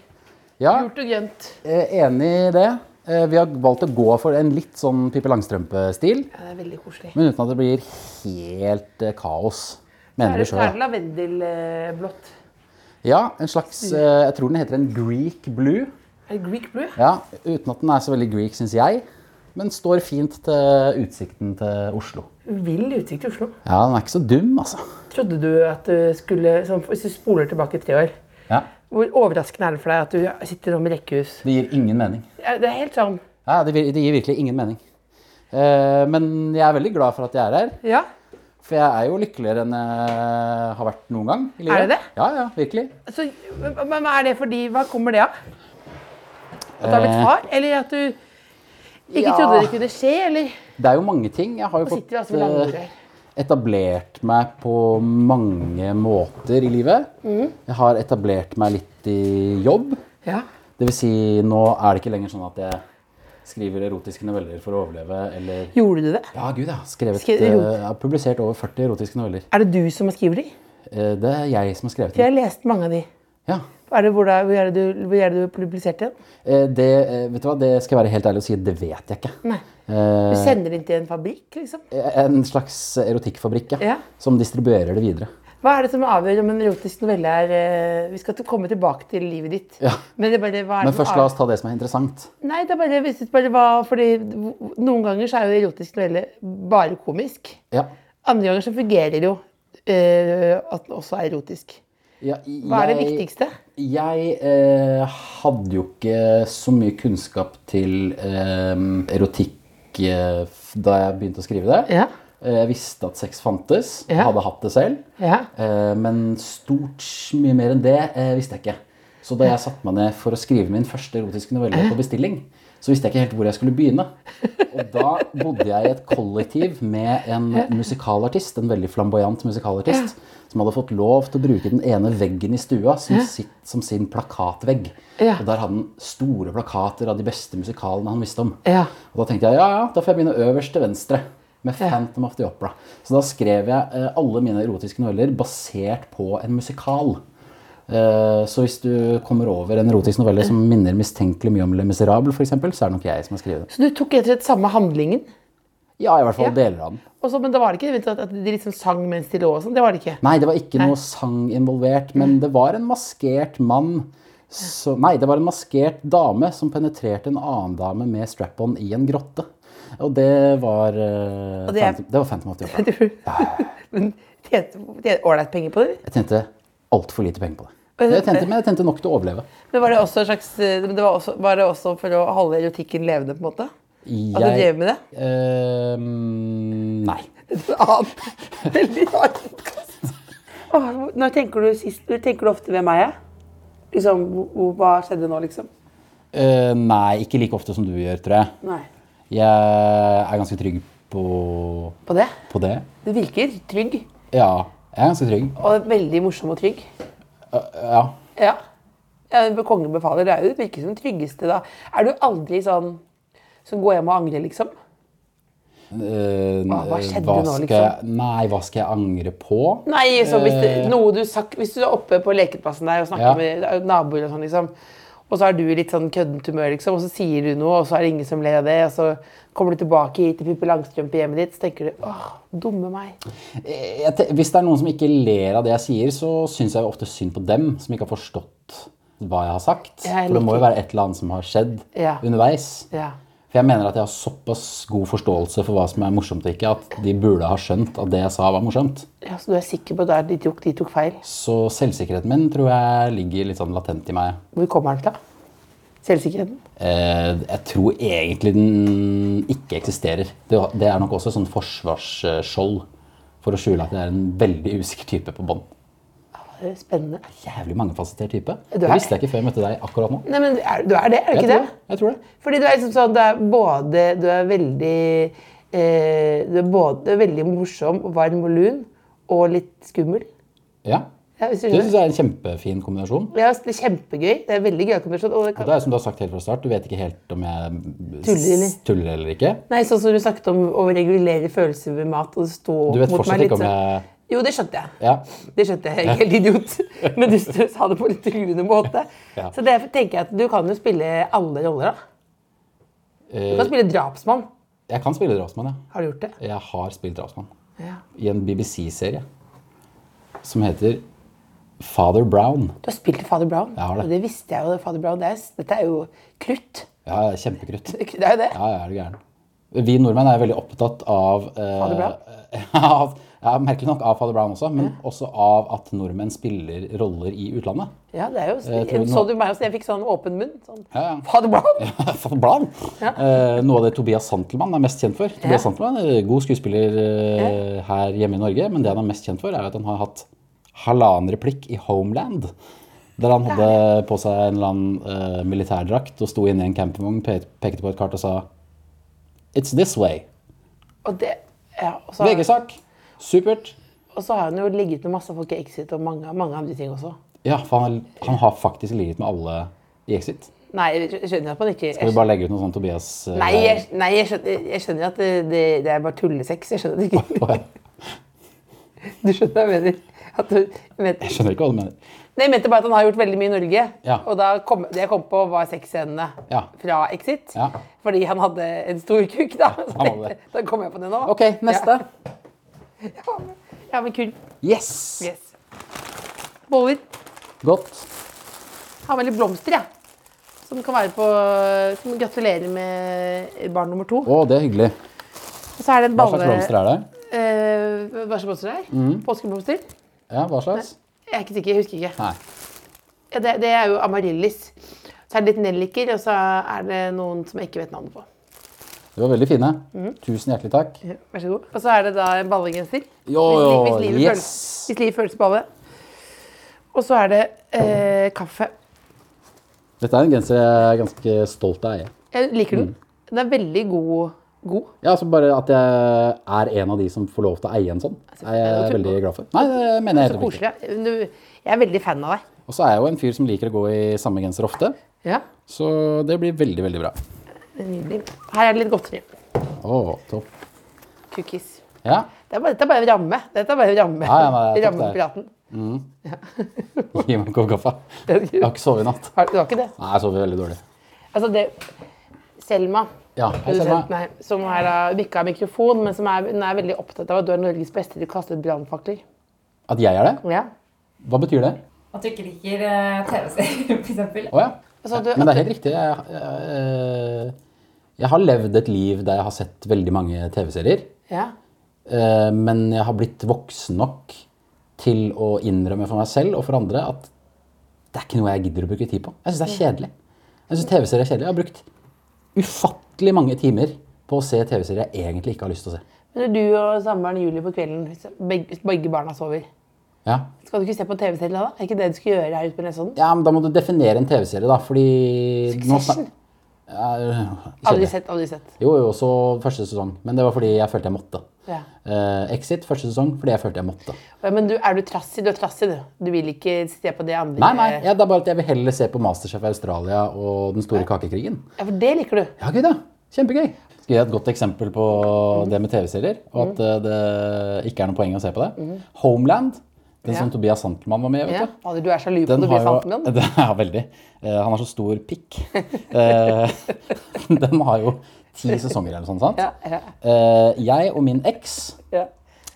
[SPEAKER 4] Ja,
[SPEAKER 3] Gult og grønt.
[SPEAKER 4] eh, enig i det. Eh, vi har valgt å gå for en litt sånn Pippi Langstrømpe-stil,
[SPEAKER 3] Ja, det er veldig koselig.
[SPEAKER 4] men uten at det blir helt eh, kaos.
[SPEAKER 3] Er
[SPEAKER 4] Mener vi
[SPEAKER 3] det, er
[SPEAKER 4] sjøl.
[SPEAKER 3] det lavendelblått?
[SPEAKER 4] Ja, en slags eh, Jeg tror den heter en Greek blue.
[SPEAKER 3] Er det Greek blue?
[SPEAKER 4] Ja, Uten at den er så veldig Greek, syns jeg. Men står fint til utsikten til Oslo.
[SPEAKER 3] Vill utsikt i Oslo.
[SPEAKER 4] Ja, den er ikke så dum, altså.
[SPEAKER 3] Trodde du at du skulle sånn, Hvis du spoler tilbake tre år,
[SPEAKER 4] Ja,
[SPEAKER 3] hvor overraskende er det for deg at du sitter nå med rekkehus?
[SPEAKER 4] Det gir ingen mening.
[SPEAKER 3] Ja, Det er helt sånn
[SPEAKER 4] Ja, det, vir- det gir virkelig ingen mening. Eh, men jeg er veldig glad for at jeg er her.
[SPEAKER 3] Ja.
[SPEAKER 4] For jeg er jo lykkeligere enn jeg har vært noen gang. i livet.
[SPEAKER 3] Er det det?
[SPEAKER 4] Ja, ja, virkelig.
[SPEAKER 3] Så, men, men er det fordi Hva kommer det av? At du har blitt far? Eller at du ikke
[SPEAKER 4] Eh. Ja.
[SPEAKER 3] trodde det kunne skje? Eller
[SPEAKER 4] Det er jo mange ting. Jeg har jo
[SPEAKER 3] Nå sitter
[SPEAKER 4] fått
[SPEAKER 3] vi altså med lange
[SPEAKER 4] eh,
[SPEAKER 3] ord her.
[SPEAKER 4] etablert meg på mange måter i livet.
[SPEAKER 3] Mm.
[SPEAKER 4] Jeg har etablert meg litt i jobb.
[SPEAKER 3] Ja.
[SPEAKER 4] Det vil si, nå er det ikke lenger sånn at jeg skriver erotiske noveller for å overleve, eller
[SPEAKER 3] Gjorde du det?
[SPEAKER 4] Ja, gud, jeg har skrevet
[SPEAKER 3] Skrevet
[SPEAKER 4] eh,
[SPEAKER 3] erot-
[SPEAKER 4] Jeg har publisert over 40 erotiske noveller.
[SPEAKER 3] Er det du som har skrevet de?
[SPEAKER 4] Eh, Det er jeg som har skrevet
[SPEAKER 3] For jeg har
[SPEAKER 4] dem.
[SPEAKER 3] lest mange av de.
[SPEAKER 4] Ja.
[SPEAKER 3] Er det, hvor, da, hvor, er det du, hvor er det du publiserte den?
[SPEAKER 4] Eh, Det, eh, vet du hva, det skal jeg være helt ærlig og si, det vet jeg ikke.
[SPEAKER 3] Nei. Du
[SPEAKER 4] Eh,
[SPEAKER 3] sender den til en fabrikk, liksom?
[SPEAKER 4] En slags erotikkfabrikk,
[SPEAKER 3] Ja.
[SPEAKER 4] Som distribuerer det videre.
[SPEAKER 3] Hva er det som avgjør om en erotisk novelle er eh, Vi skal til- komme tilbake til livet ditt.
[SPEAKER 4] Ja.
[SPEAKER 3] Men, det er bare, hva er
[SPEAKER 4] Men
[SPEAKER 3] det som
[SPEAKER 4] først la
[SPEAKER 3] avgjør-
[SPEAKER 4] oss ta det som er interessant.
[SPEAKER 3] Nei, det er bare, jeg visste bare hva, fordi noen ganger så er jo erotisk novelle bare komisk.
[SPEAKER 4] Ja.
[SPEAKER 3] Andre ganger så fungerer jo eh, at den også er erotisk.
[SPEAKER 4] Ja,
[SPEAKER 3] Hva er det
[SPEAKER 4] jeg-
[SPEAKER 3] viktigste?
[SPEAKER 4] Jeg eh, hadde jo ikke så mye kunnskap til eh, erotikk eh, f- da jeg begynte å skrive det.
[SPEAKER 3] Ja.
[SPEAKER 4] Eh, Jeg visste at sex fantes,
[SPEAKER 3] Ja.
[SPEAKER 4] hadde hatt det selv.
[SPEAKER 3] Ja.
[SPEAKER 4] Eh, Men stort s- mye mer enn det eh, visste jeg ikke. Så da jeg satte meg ned for å skrive min første erotiske novelle på bestilling, så visste jeg ikke helt hvor jeg skulle begynne. Og da bodde jeg i et kollektiv med en musikalartist, en veldig flamboyant musikalartist, som hadde fått lov til å bruke den ene veggen i stua som, sitt, som sin plakatvegg.
[SPEAKER 3] Ja.
[SPEAKER 4] Og der hadde han store plakater av de beste musikalene han visste om.
[SPEAKER 3] Ja.
[SPEAKER 4] Og da tenkte jeg ja, ja, da får jeg begynne øverst til venstre med Phantom of the Opera. Så da skrev jeg eh, alle mine erotiske noveller basert på en musikal. Eh, så hvis du kommer over en erotisk novelle som minner mistenkelig mye om Le Miserable, for eksempel, så er det nok jeg som har skrevet den.
[SPEAKER 3] Så du tok rett og slett samme handlingen,
[SPEAKER 4] Ja, i hvert fall
[SPEAKER 3] Ja.
[SPEAKER 4] deler av den.
[SPEAKER 3] og så- men da var det ikke eventuelt at de liksom sang mens de lå og sånn? Det var det ikke.
[SPEAKER 4] Nei, det var ikke noe sang involvert,
[SPEAKER 3] Mm.
[SPEAKER 4] men det var en maskert mann som- Nei, det var en maskert dame som penetrerte en annen dame med strap-on i en grotte. Og det var, eh,
[SPEAKER 3] Og det er-
[SPEAKER 4] Phantom, det var Phantom of the Opera.
[SPEAKER 3] Men tjente tjente ålreit penger på det? eller?
[SPEAKER 4] Jeg tjente altfor lite penger på det.
[SPEAKER 3] Men-
[SPEAKER 4] Jeg tjente, men jeg tjente nok til å overleve.
[SPEAKER 3] Men var det også en slags eh, det var, også, var det også for å holde erotikken levende, på en måte? At du drev med det?
[SPEAKER 4] Eh, nei.
[SPEAKER 3] En annen veldig rar podcast. Åh, Når tenker du sist når Tenker du ofte hvem er jeg? Liksom, hvor- hvor- hva skjedde nå, liksom?
[SPEAKER 4] Eh, nei, ikke like ofte som du gjør, tror jeg.
[SPEAKER 3] Nei.
[SPEAKER 4] Jeg er ganske trygg på,
[SPEAKER 3] På det?
[SPEAKER 4] på det.
[SPEAKER 3] Du virker trygg.
[SPEAKER 4] Ja, jeg er ganske trygg.
[SPEAKER 3] Og veldig morsom og trygg.
[SPEAKER 4] Ja.
[SPEAKER 3] Ja. eh, kongen befaler, det er jo det virker som det tryggeste da. Er du aldri sånn som går hjem og angrer, liksom?
[SPEAKER 4] Eh,
[SPEAKER 3] Hva- hva skjedde
[SPEAKER 4] hva
[SPEAKER 3] nå, liksom?
[SPEAKER 4] skal jeg- Nei, hva skal jeg angre på?
[SPEAKER 3] Nei, så hvis, det,
[SPEAKER 4] Eh.
[SPEAKER 3] noe du sagt, hvis du er oppe på lekeplassen der og
[SPEAKER 4] Ja.
[SPEAKER 3] snakker med naboer og sånn, liksom, og så er du i litt sånn køddent humør, liksom, og så sier du noe, og så er det ingen som ler av det, og så kommer du tilbake hit til Pippi Langstrømpe hjemmet ditt, så tenker du åh, dumme meg.
[SPEAKER 4] Eh, Jeg, te- hvis det er noen som ikke ler av det jeg sier, så syns jeg ofte synd på dem som ikke har forstått hva jeg har sagt.
[SPEAKER 3] Ja, jeg
[SPEAKER 4] For det må jo
[SPEAKER 3] liker-
[SPEAKER 4] være et eller annet som har skjedd
[SPEAKER 3] Ja.
[SPEAKER 4] underveis.
[SPEAKER 3] Ja.
[SPEAKER 4] For jeg mener at jeg har såpass god forståelse for hva som er morsomt og ikke, at de burde ha skjønt at det jeg sa, var morsomt.
[SPEAKER 3] ja, Så du er sikker på at det er de tok, de tok feil?
[SPEAKER 4] Så selvsikkerheten min tror jeg ligger litt sånn latent i meg.
[SPEAKER 3] Hvor kommer den fra? Selvsikkerheten?
[SPEAKER 4] Eh, jeg tror egentlig den ikke eksisterer. Det, det er nok også et sånn forsvarsskjold for å skjule at jeg er en veldig usikker type på bånd.
[SPEAKER 3] Det er Spennende.
[SPEAKER 4] Jævlig mangefasettert type.
[SPEAKER 3] er
[SPEAKER 4] Det
[SPEAKER 3] det.
[SPEAKER 4] visste jeg ikke før jeg møtte deg akkurat nå.
[SPEAKER 3] Nei, men er, du er det, er du ikke
[SPEAKER 4] Jeg tror
[SPEAKER 3] det?
[SPEAKER 4] det. Jeg tror det.
[SPEAKER 3] Fordi du er liksom sånn, du er både Du er veldig eh, Du er både veldig morsom, varm og lun, og litt skummel.
[SPEAKER 4] Ja.
[SPEAKER 3] Ja, hvis du
[SPEAKER 4] Det syns
[SPEAKER 3] skjønner.
[SPEAKER 4] jeg er en kjempefin kombinasjon.
[SPEAKER 3] Ja, det er kjempegøy. Det er veldig gøy kombinasjon. Og det
[SPEAKER 4] Og
[SPEAKER 3] kan,
[SPEAKER 4] det er jo som du har sagt helt fra start, du vet ikke helt om jeg s-
[SPEAKER 3] Tuller eller?
[SPEAKER 4] tuller eller ikke.
[SPEAKER 3] nei, sånn som du snakket om å regulere følelser ved mat, og det sto
[SPEAKER 4] Du vet
[SPEAKER 3] mot
[SPEAKER 4] fortsatt
[SPEAKER 3] meg litt
[SPEAKER 4] ikke om
[SPEAKER 3] sånn.
[SPEAKER 4] jeg
[SPEAKER 3] Jo, det skjønte jeg.
[SPEAKER 4] Ja.
[SPEAKER 3] Det skjønte jeg. Jeg er helt idiot. Men du sa det på litt tryggere måte.
[SPEAKER 4] Ja.
[SPEAKER 3] Så derfor tenker jeg at du kan jo spille alle roller, da. Du
[SPEAKER 4] Eh,
[SPEAKER 3] kan spille drapsmann.
[SPEAKER 4] Jeg kan spille drapsmann, ja.
[SPEAKER 3] Har du gjort det?
[SPEAKER 4] Jeg har spilt drapsmann.
[SPEAKER 3] Ja.
[SPEAKER 4] i en BBC-serie som heter Father Brown.
[SPEAKER 3] Du har spilt i Father Brown.
[SPEAKER 4] Jeg har det.
[SPEAKER 3] Og det visste jeg jo. Father Brown, det er, dette er jo krutt.
[SPEAKER 4] Ja, kjempekrutt.
[SPEAKER 3] Det er jo det.
[SPEAKER 4] Ja, ja, er du gæren. Vi nordmenn er veldig opptatt av eh,
[SPEAKER 3] Father Brown?
[SPEAKER 4] av- ja, merkelig nok av Father Brown også, men også av at nordmenn spiller roller i utlandet.
[SPEAKER 3] Ja, det er
[SPEAKER 4] Jeg tror
[SPEAKER 3] jo,
[SPEAKER 4] nå-
[SPEAKER 3] så du meg også? Jeg fikk sånn åpen munn. Sånn.
[SPEAKER 4] Ja, ja.
[SPEAKER 3] Father Brown!
[SPEAKER 4] Father Brown!
[SPEAKER 3] Ja.
[SPEAKER 4] Eh, noe av det Tobias Santelmann er mest kjent for. Tobias Santelmann er en god skuespiller eh, her hjemme i Norge, men det han er mest kjent for, er at han har hatt halvannen replikk i Homeland. Der han hadde på seg en eller annen eh, militærdrakt og sto inne i en campingvogn, pe pekte på et kart og sa It's this way.
[SPEAKER 3] Og det, ja, og, så,
[SPEAKER 4] VG-sak. Supert.
[SPEAKER 3] og så har han jo ligget med masse folk i Exit og mange, mange andre ting også.
[SPEAKER 4] Ja, for han, han har faktisk ligget med alle i Exit.
[SPEAKER 3] Nei, jeg skjønner at man ikke
[SPEAKER 4] Skal vi bare legge ut noe sånn Tobias eh,
[SPEAKER 3] Nei, jeg, nei, jeg, skjønner, jeg skjønner at det, det, det er bare tullesex. Jeg skjønner at det ikke Du skjønner hva jeg mener? At du, jeg mente-
[SPEAKER 4] Jeg skjønner ikke hva du mener.
[SPEAKER 3] nei, jeg mente bare at han har gjort veldig mye i Norge.
[SPEAKER 4] Ja.
[SPEAKER 3] Og da kom, det jeg kom på, var sexscenene
[SPEAKER 4] Ja.
[SPEAKER 3] fra Exit.
[SPEAKER 4] Ja.
[SPEAKER 3] Fordi han hadde en stor kuk, da. Så
[SPEAKER 4] han hadde
[SPEAKER 3] tenkte, jeg- da kom jeg på det nå.
[SPEAKER 4] OK, neste.
[SPEAKER 3] Ja, ja men kul.
[SPEAKER 4] Yes!
[SPEAKER 3] Yes. Boller.
[SPEAKER 4] Godt.
[SPEAKER 3] Har med litt blomster, jeg. Ja. Som kan være på Som gratulerer med barn nummer to.
[SPEAKER 4] Å, det er hyggelig.
[SPEAKER 3] Og så er det en
[SPEAKER 4] Hva
[SPEAKER 3] balle
[SPEAKER 4] slags blomster er det? Mhm.
[SPEAKER 3] Eh, hva slags blomster det er? Påskeblomster?
[SPEAKER 4] Ja, hva slags?
[SPEAKER 3] Jeg er ikke sikker. Jeg husker ikke.
[SPEAKER 4] Nei.
[SPEAKER 3] Ja, det, det er jo amaryllis. Så er det litt nelliker, og så er det noen som jeg ikke vet navnet på.
[SPEAKER 4] De var veldig fine.
[SPEAKER 3] Mm.
[SPEAKER 4] Tusen hjertelig takk.
[SPEAKER 3] Vær så god. Og så er det da en ballegenser.
[SPEAKER 4] Jo,
[SPEAKER 3] Hvis-
[SPEAKER 4] jo,
[SPEAKER 3] hvis livet
[SPEAKER 4] yes!
[SPEAKER 3] føles- Hvis livet føles på alle. Og så er det eh, kaffe.
[SPEAKER 4] Dette er en genser jeg er ganske stolt av å eie.
[SPEAKER 3] Jeg liker
[SPEAKER 4] Mm.
[SPEAKER 3] den. Den er veldig god. god.
[SPEAKER 4] Ja, altså bare at jeg er en av de som får lov til å eie en sånn, er
[SPEAKER 3] Altså, det
[SPEAKER 4] jeg
[SPEAKER 3] er jo
[SPEAKER 4] veldig glad for. Nei, det mener
[SPEAKER 3] Så
[SPEAKER 4] jeg helt oppriktig.
[SPEAKER 3] koselig. Du, jeg er veldig fan av deg.
[SPEAKER 4] Og så er jeg jo en fyr som liker å gå i samme genser ofte,
[SPEAKER 3] Ja,
[SPEAKER 4] så det blir veldig, veldig bra.
[SPEAKER 3] det er nydelig. Her er det litt godteri.
[SPEAKER 4] Å, topp.
[SPEAKER 3] Cookies.
[SPEAKER 4] Ja,
[SPEAKER 3] Det er bare, dette er bare en ramme. Dette er bare en ramme.
[SPEAKER 4] Ja, ja, nei, det er topp, det er.
[SPEAKER 3] Rammepraten.
[SPEAKER 4] gi meg en kopp kaffe.
[SPEAKER 3] Det er
[SPEAKER 4] Jeg
[SPEAKER 3] gøy.
[SPEAKER 4] har ikke sovet i natt.
[SPEAKER 3] Har- Du har ikke det?
[SPEAKER 4] Nei, jeg sover veldig dårlig.
[SPEAKER 3] Altså, det Selma,
[SPEAKER 4] Ja, hei Selma.
[SPEAKER 3] produsenten her, som er da ikke har mikrofon, men som er, hun er veldig opptatt av at du er Norges beste til å kaste ut brannfakler.
[SPEAKER 4] At jeg er det?
[SPEAKER 3] Ja.
[SPEAKER 4] Hva betyr det?
[SPEAKER 5] At du ikke liker eh, TV-serier, f.eks.
[SPEAKER 4] Å ja.
[SPEAKER 3] Altså, du-
[SPEAKER 4] Men det er helt riktig. Jeg, jeg, eh, jeg har levd et liv der jeg har sett veldig mange TV-serier.
[SPEAKER 3] ja.
[SPEAKER 4] eh, Men jeg har blitt voksen nok til å innrømme for meg selv og for andre at det er ikke noe jeg gidder å bruke tid på. Jeg syns det er kjedelig. Jeg synes TV-serier er kjedelig. Jeg har brukt ufattelig mange timer på å se TV-serier jeg egentlig ikke har lyst til å se.
[SPEAKER 3] Men når du og samboeren Julie på kvelden, hvis begge, begge barna sover,
[SPEAKER 4] Ja,
[SPEAKER 3] skal du ikke se på en TV-serie da? Er ikke det du skal gjøre her ute på Nesodden?
[SPEAKER 4] ja men da må du definere en TV-serie, da, fordi nå snak-
[SPEAKER 3] Succession.
[SPEAKER 4] Ja, øh,
[SPEAKER 3] Aldri
[SPEAKER 4] Kjedelig.
[SPEAKER 3] sett, aldri sett.
[SPEAKER 4] Jo, jo, så første sesong. Men det var fordi jeg følte jeg måtte.
[SPEAKER 3] Ja.
[SPEAKER 4] Eh, Exit første sesong fordi jeg følte jeg måtte.
[SPEAKER 3] Men du, er du trassig? Du er trassig, du. Du vil ikke se på det andre.
[SPEAKER 4] Nei, nei, ja, det er bare at jeg vil heller se på Masterchef Australia og Den store kakekrigen.
[SPEAKER 3] Ja, for det liker du.
[SPEAKER 4] Ja, gøy da. Kjempegøy. Skal jeg gi et godt eksempel på
[SPEAKER 3] Mhm.
[SPEAKER 4] det med TV-serier, og at eh, det ikke er noe poeng å se på det? Homeland, den som
[SPEAKER 3] Mhm. Ja.
[SPEAKER 4] Tobias Santelmann var med i, vet
[SPEAKER 3] Ja.
[SPEAKER 4] du.
[SPEAKER 3] Fader, Du er sjalu på
[SPEAKER 4] Den
[SPEAKER 3] det blir
[SPEAKER 4] har
[SPEAKER 3] sant
[SPEAKER 4] jo,
[SPEAKER 3] med den.
[SPEAKER 4] det er veldig. Eh, han har så stor pikk. Eh, den har jo ti sesonger eller sånn, sant?
[SPEAKER 3] Ja, ja,
[SPEAKER 4] Eh, jeg og min eks,
[SPEAKER 3] ja.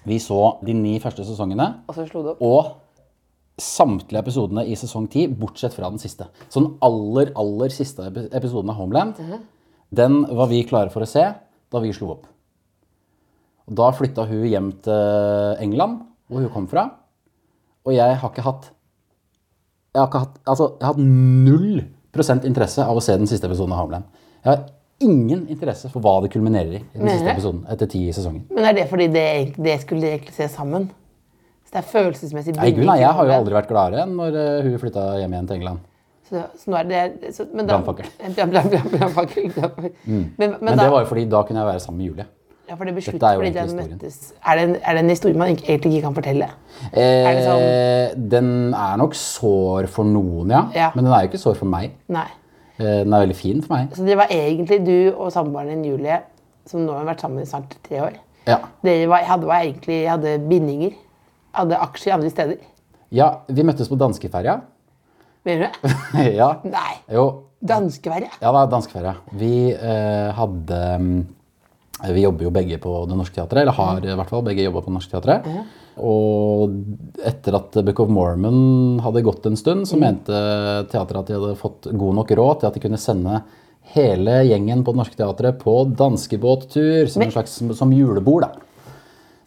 [SPEAKER 4] vi så de ni første sesongene,
[SPEAKER 3] Og så slo du opp.
[SPEAKER 4] og samtlige episodene i sesong 10, bortsett fra den siste. Så den aller, aller siste epi- episoden av Homeland, den var vi klare for å se da vi slo opp. Og da flytta hun hjem til England, hvor hun kom fra. Og jeg har ikke hatt Jeg har, ikke hatt, altså, jeg har hatt null prosent interesse av å se den siste episoden av Homeland. Jeg har ingen interesse for hva det kulminerer i, i den siste
[SPEAKER 3] Nei.
[SPEAKER 4] episoden etter ti sesonger.
[SPEAKER 3] Men er det fordi det, det skulle de egentlig se sammen? Så det er følelsesmessig
[SPEAKER 4] Nei, Gud, nei, jeg har jo
[SPEAKER 3] binding.
[SPEAKER 4] aldri vært gladere enn når eh, hun flytta hjem igjen til England.
[SPEAKER 3] Så, så nå er det så, men da-
[SPEAKER 4] Brannfakkel. Mm.
[SPEAKER 3] Ja, brann- brann- Brannfakkel. brannfakkel. Men, men,
[SPEAKER 4] Men
[SPEAKER 3] da,
[SPEAKER 4] det var jo fordi da kunne jeg være sammen med Julie.
[SPEAKER 3] ja, for det ble slutt
[SPEAKER 4] Dette er jo
[SPEAKER 3] fordi de
[SPEAKER 4] egentlig historien.
[SPEAKER 3] møttes. Er det, en, er det en historie man ikke- egentlig ikke kan fortelle?
[SPEAKER 4] Eh,
[SPEAKER 3] det sånn?
[SPEAKER 4] Den er nok sår for noen, ja.
[SPEAKER 3] Ja.
[SPEAKER 4] Men den er jo ikke sår for meg.
[SPEAKER 3] Nei.
[SPEAKER 4] Eh, Den er veldig fin for meg.
[SPEAKER 3] Så det var egentlig du og samboeren din, Julie, som nå har vært sammen i snart tre år.
[SPEAKER 4] Ja.
[SPEAKER 3] Dere var, hadde, var egentlig, hadde bindinger. Hadde aksjer andre steder.
[SPEAKER 4] ja vi møttes på danskeferja.
[SPEAKER 3] Mener du det?
[SPEAKER 4] ja.
[SPEAKER 3] Nei.
[SPEAKER 4] Jo.
[SPEAKER 3] Danskeværet.
[SPEAKER 4] Ja, det er danskeferja. Vi eh, hadde mm, Vi jobber jo begge på Det Norske Teatret, eller har i hvert fall begge jobba på Det Norske Teatret. Og etter at Book of Mormon hadde gått en stund,
[SPEAKER 3] Mm.
[SPEAKER 4] så mente teatret at de hadde fått god nok råd til at de kunne sende hele gjengen på Det Norske Teatret på danskebåttur som,
[SPEAKER 3] Men-
[SPEAKER 4] en slags, som julebord, da.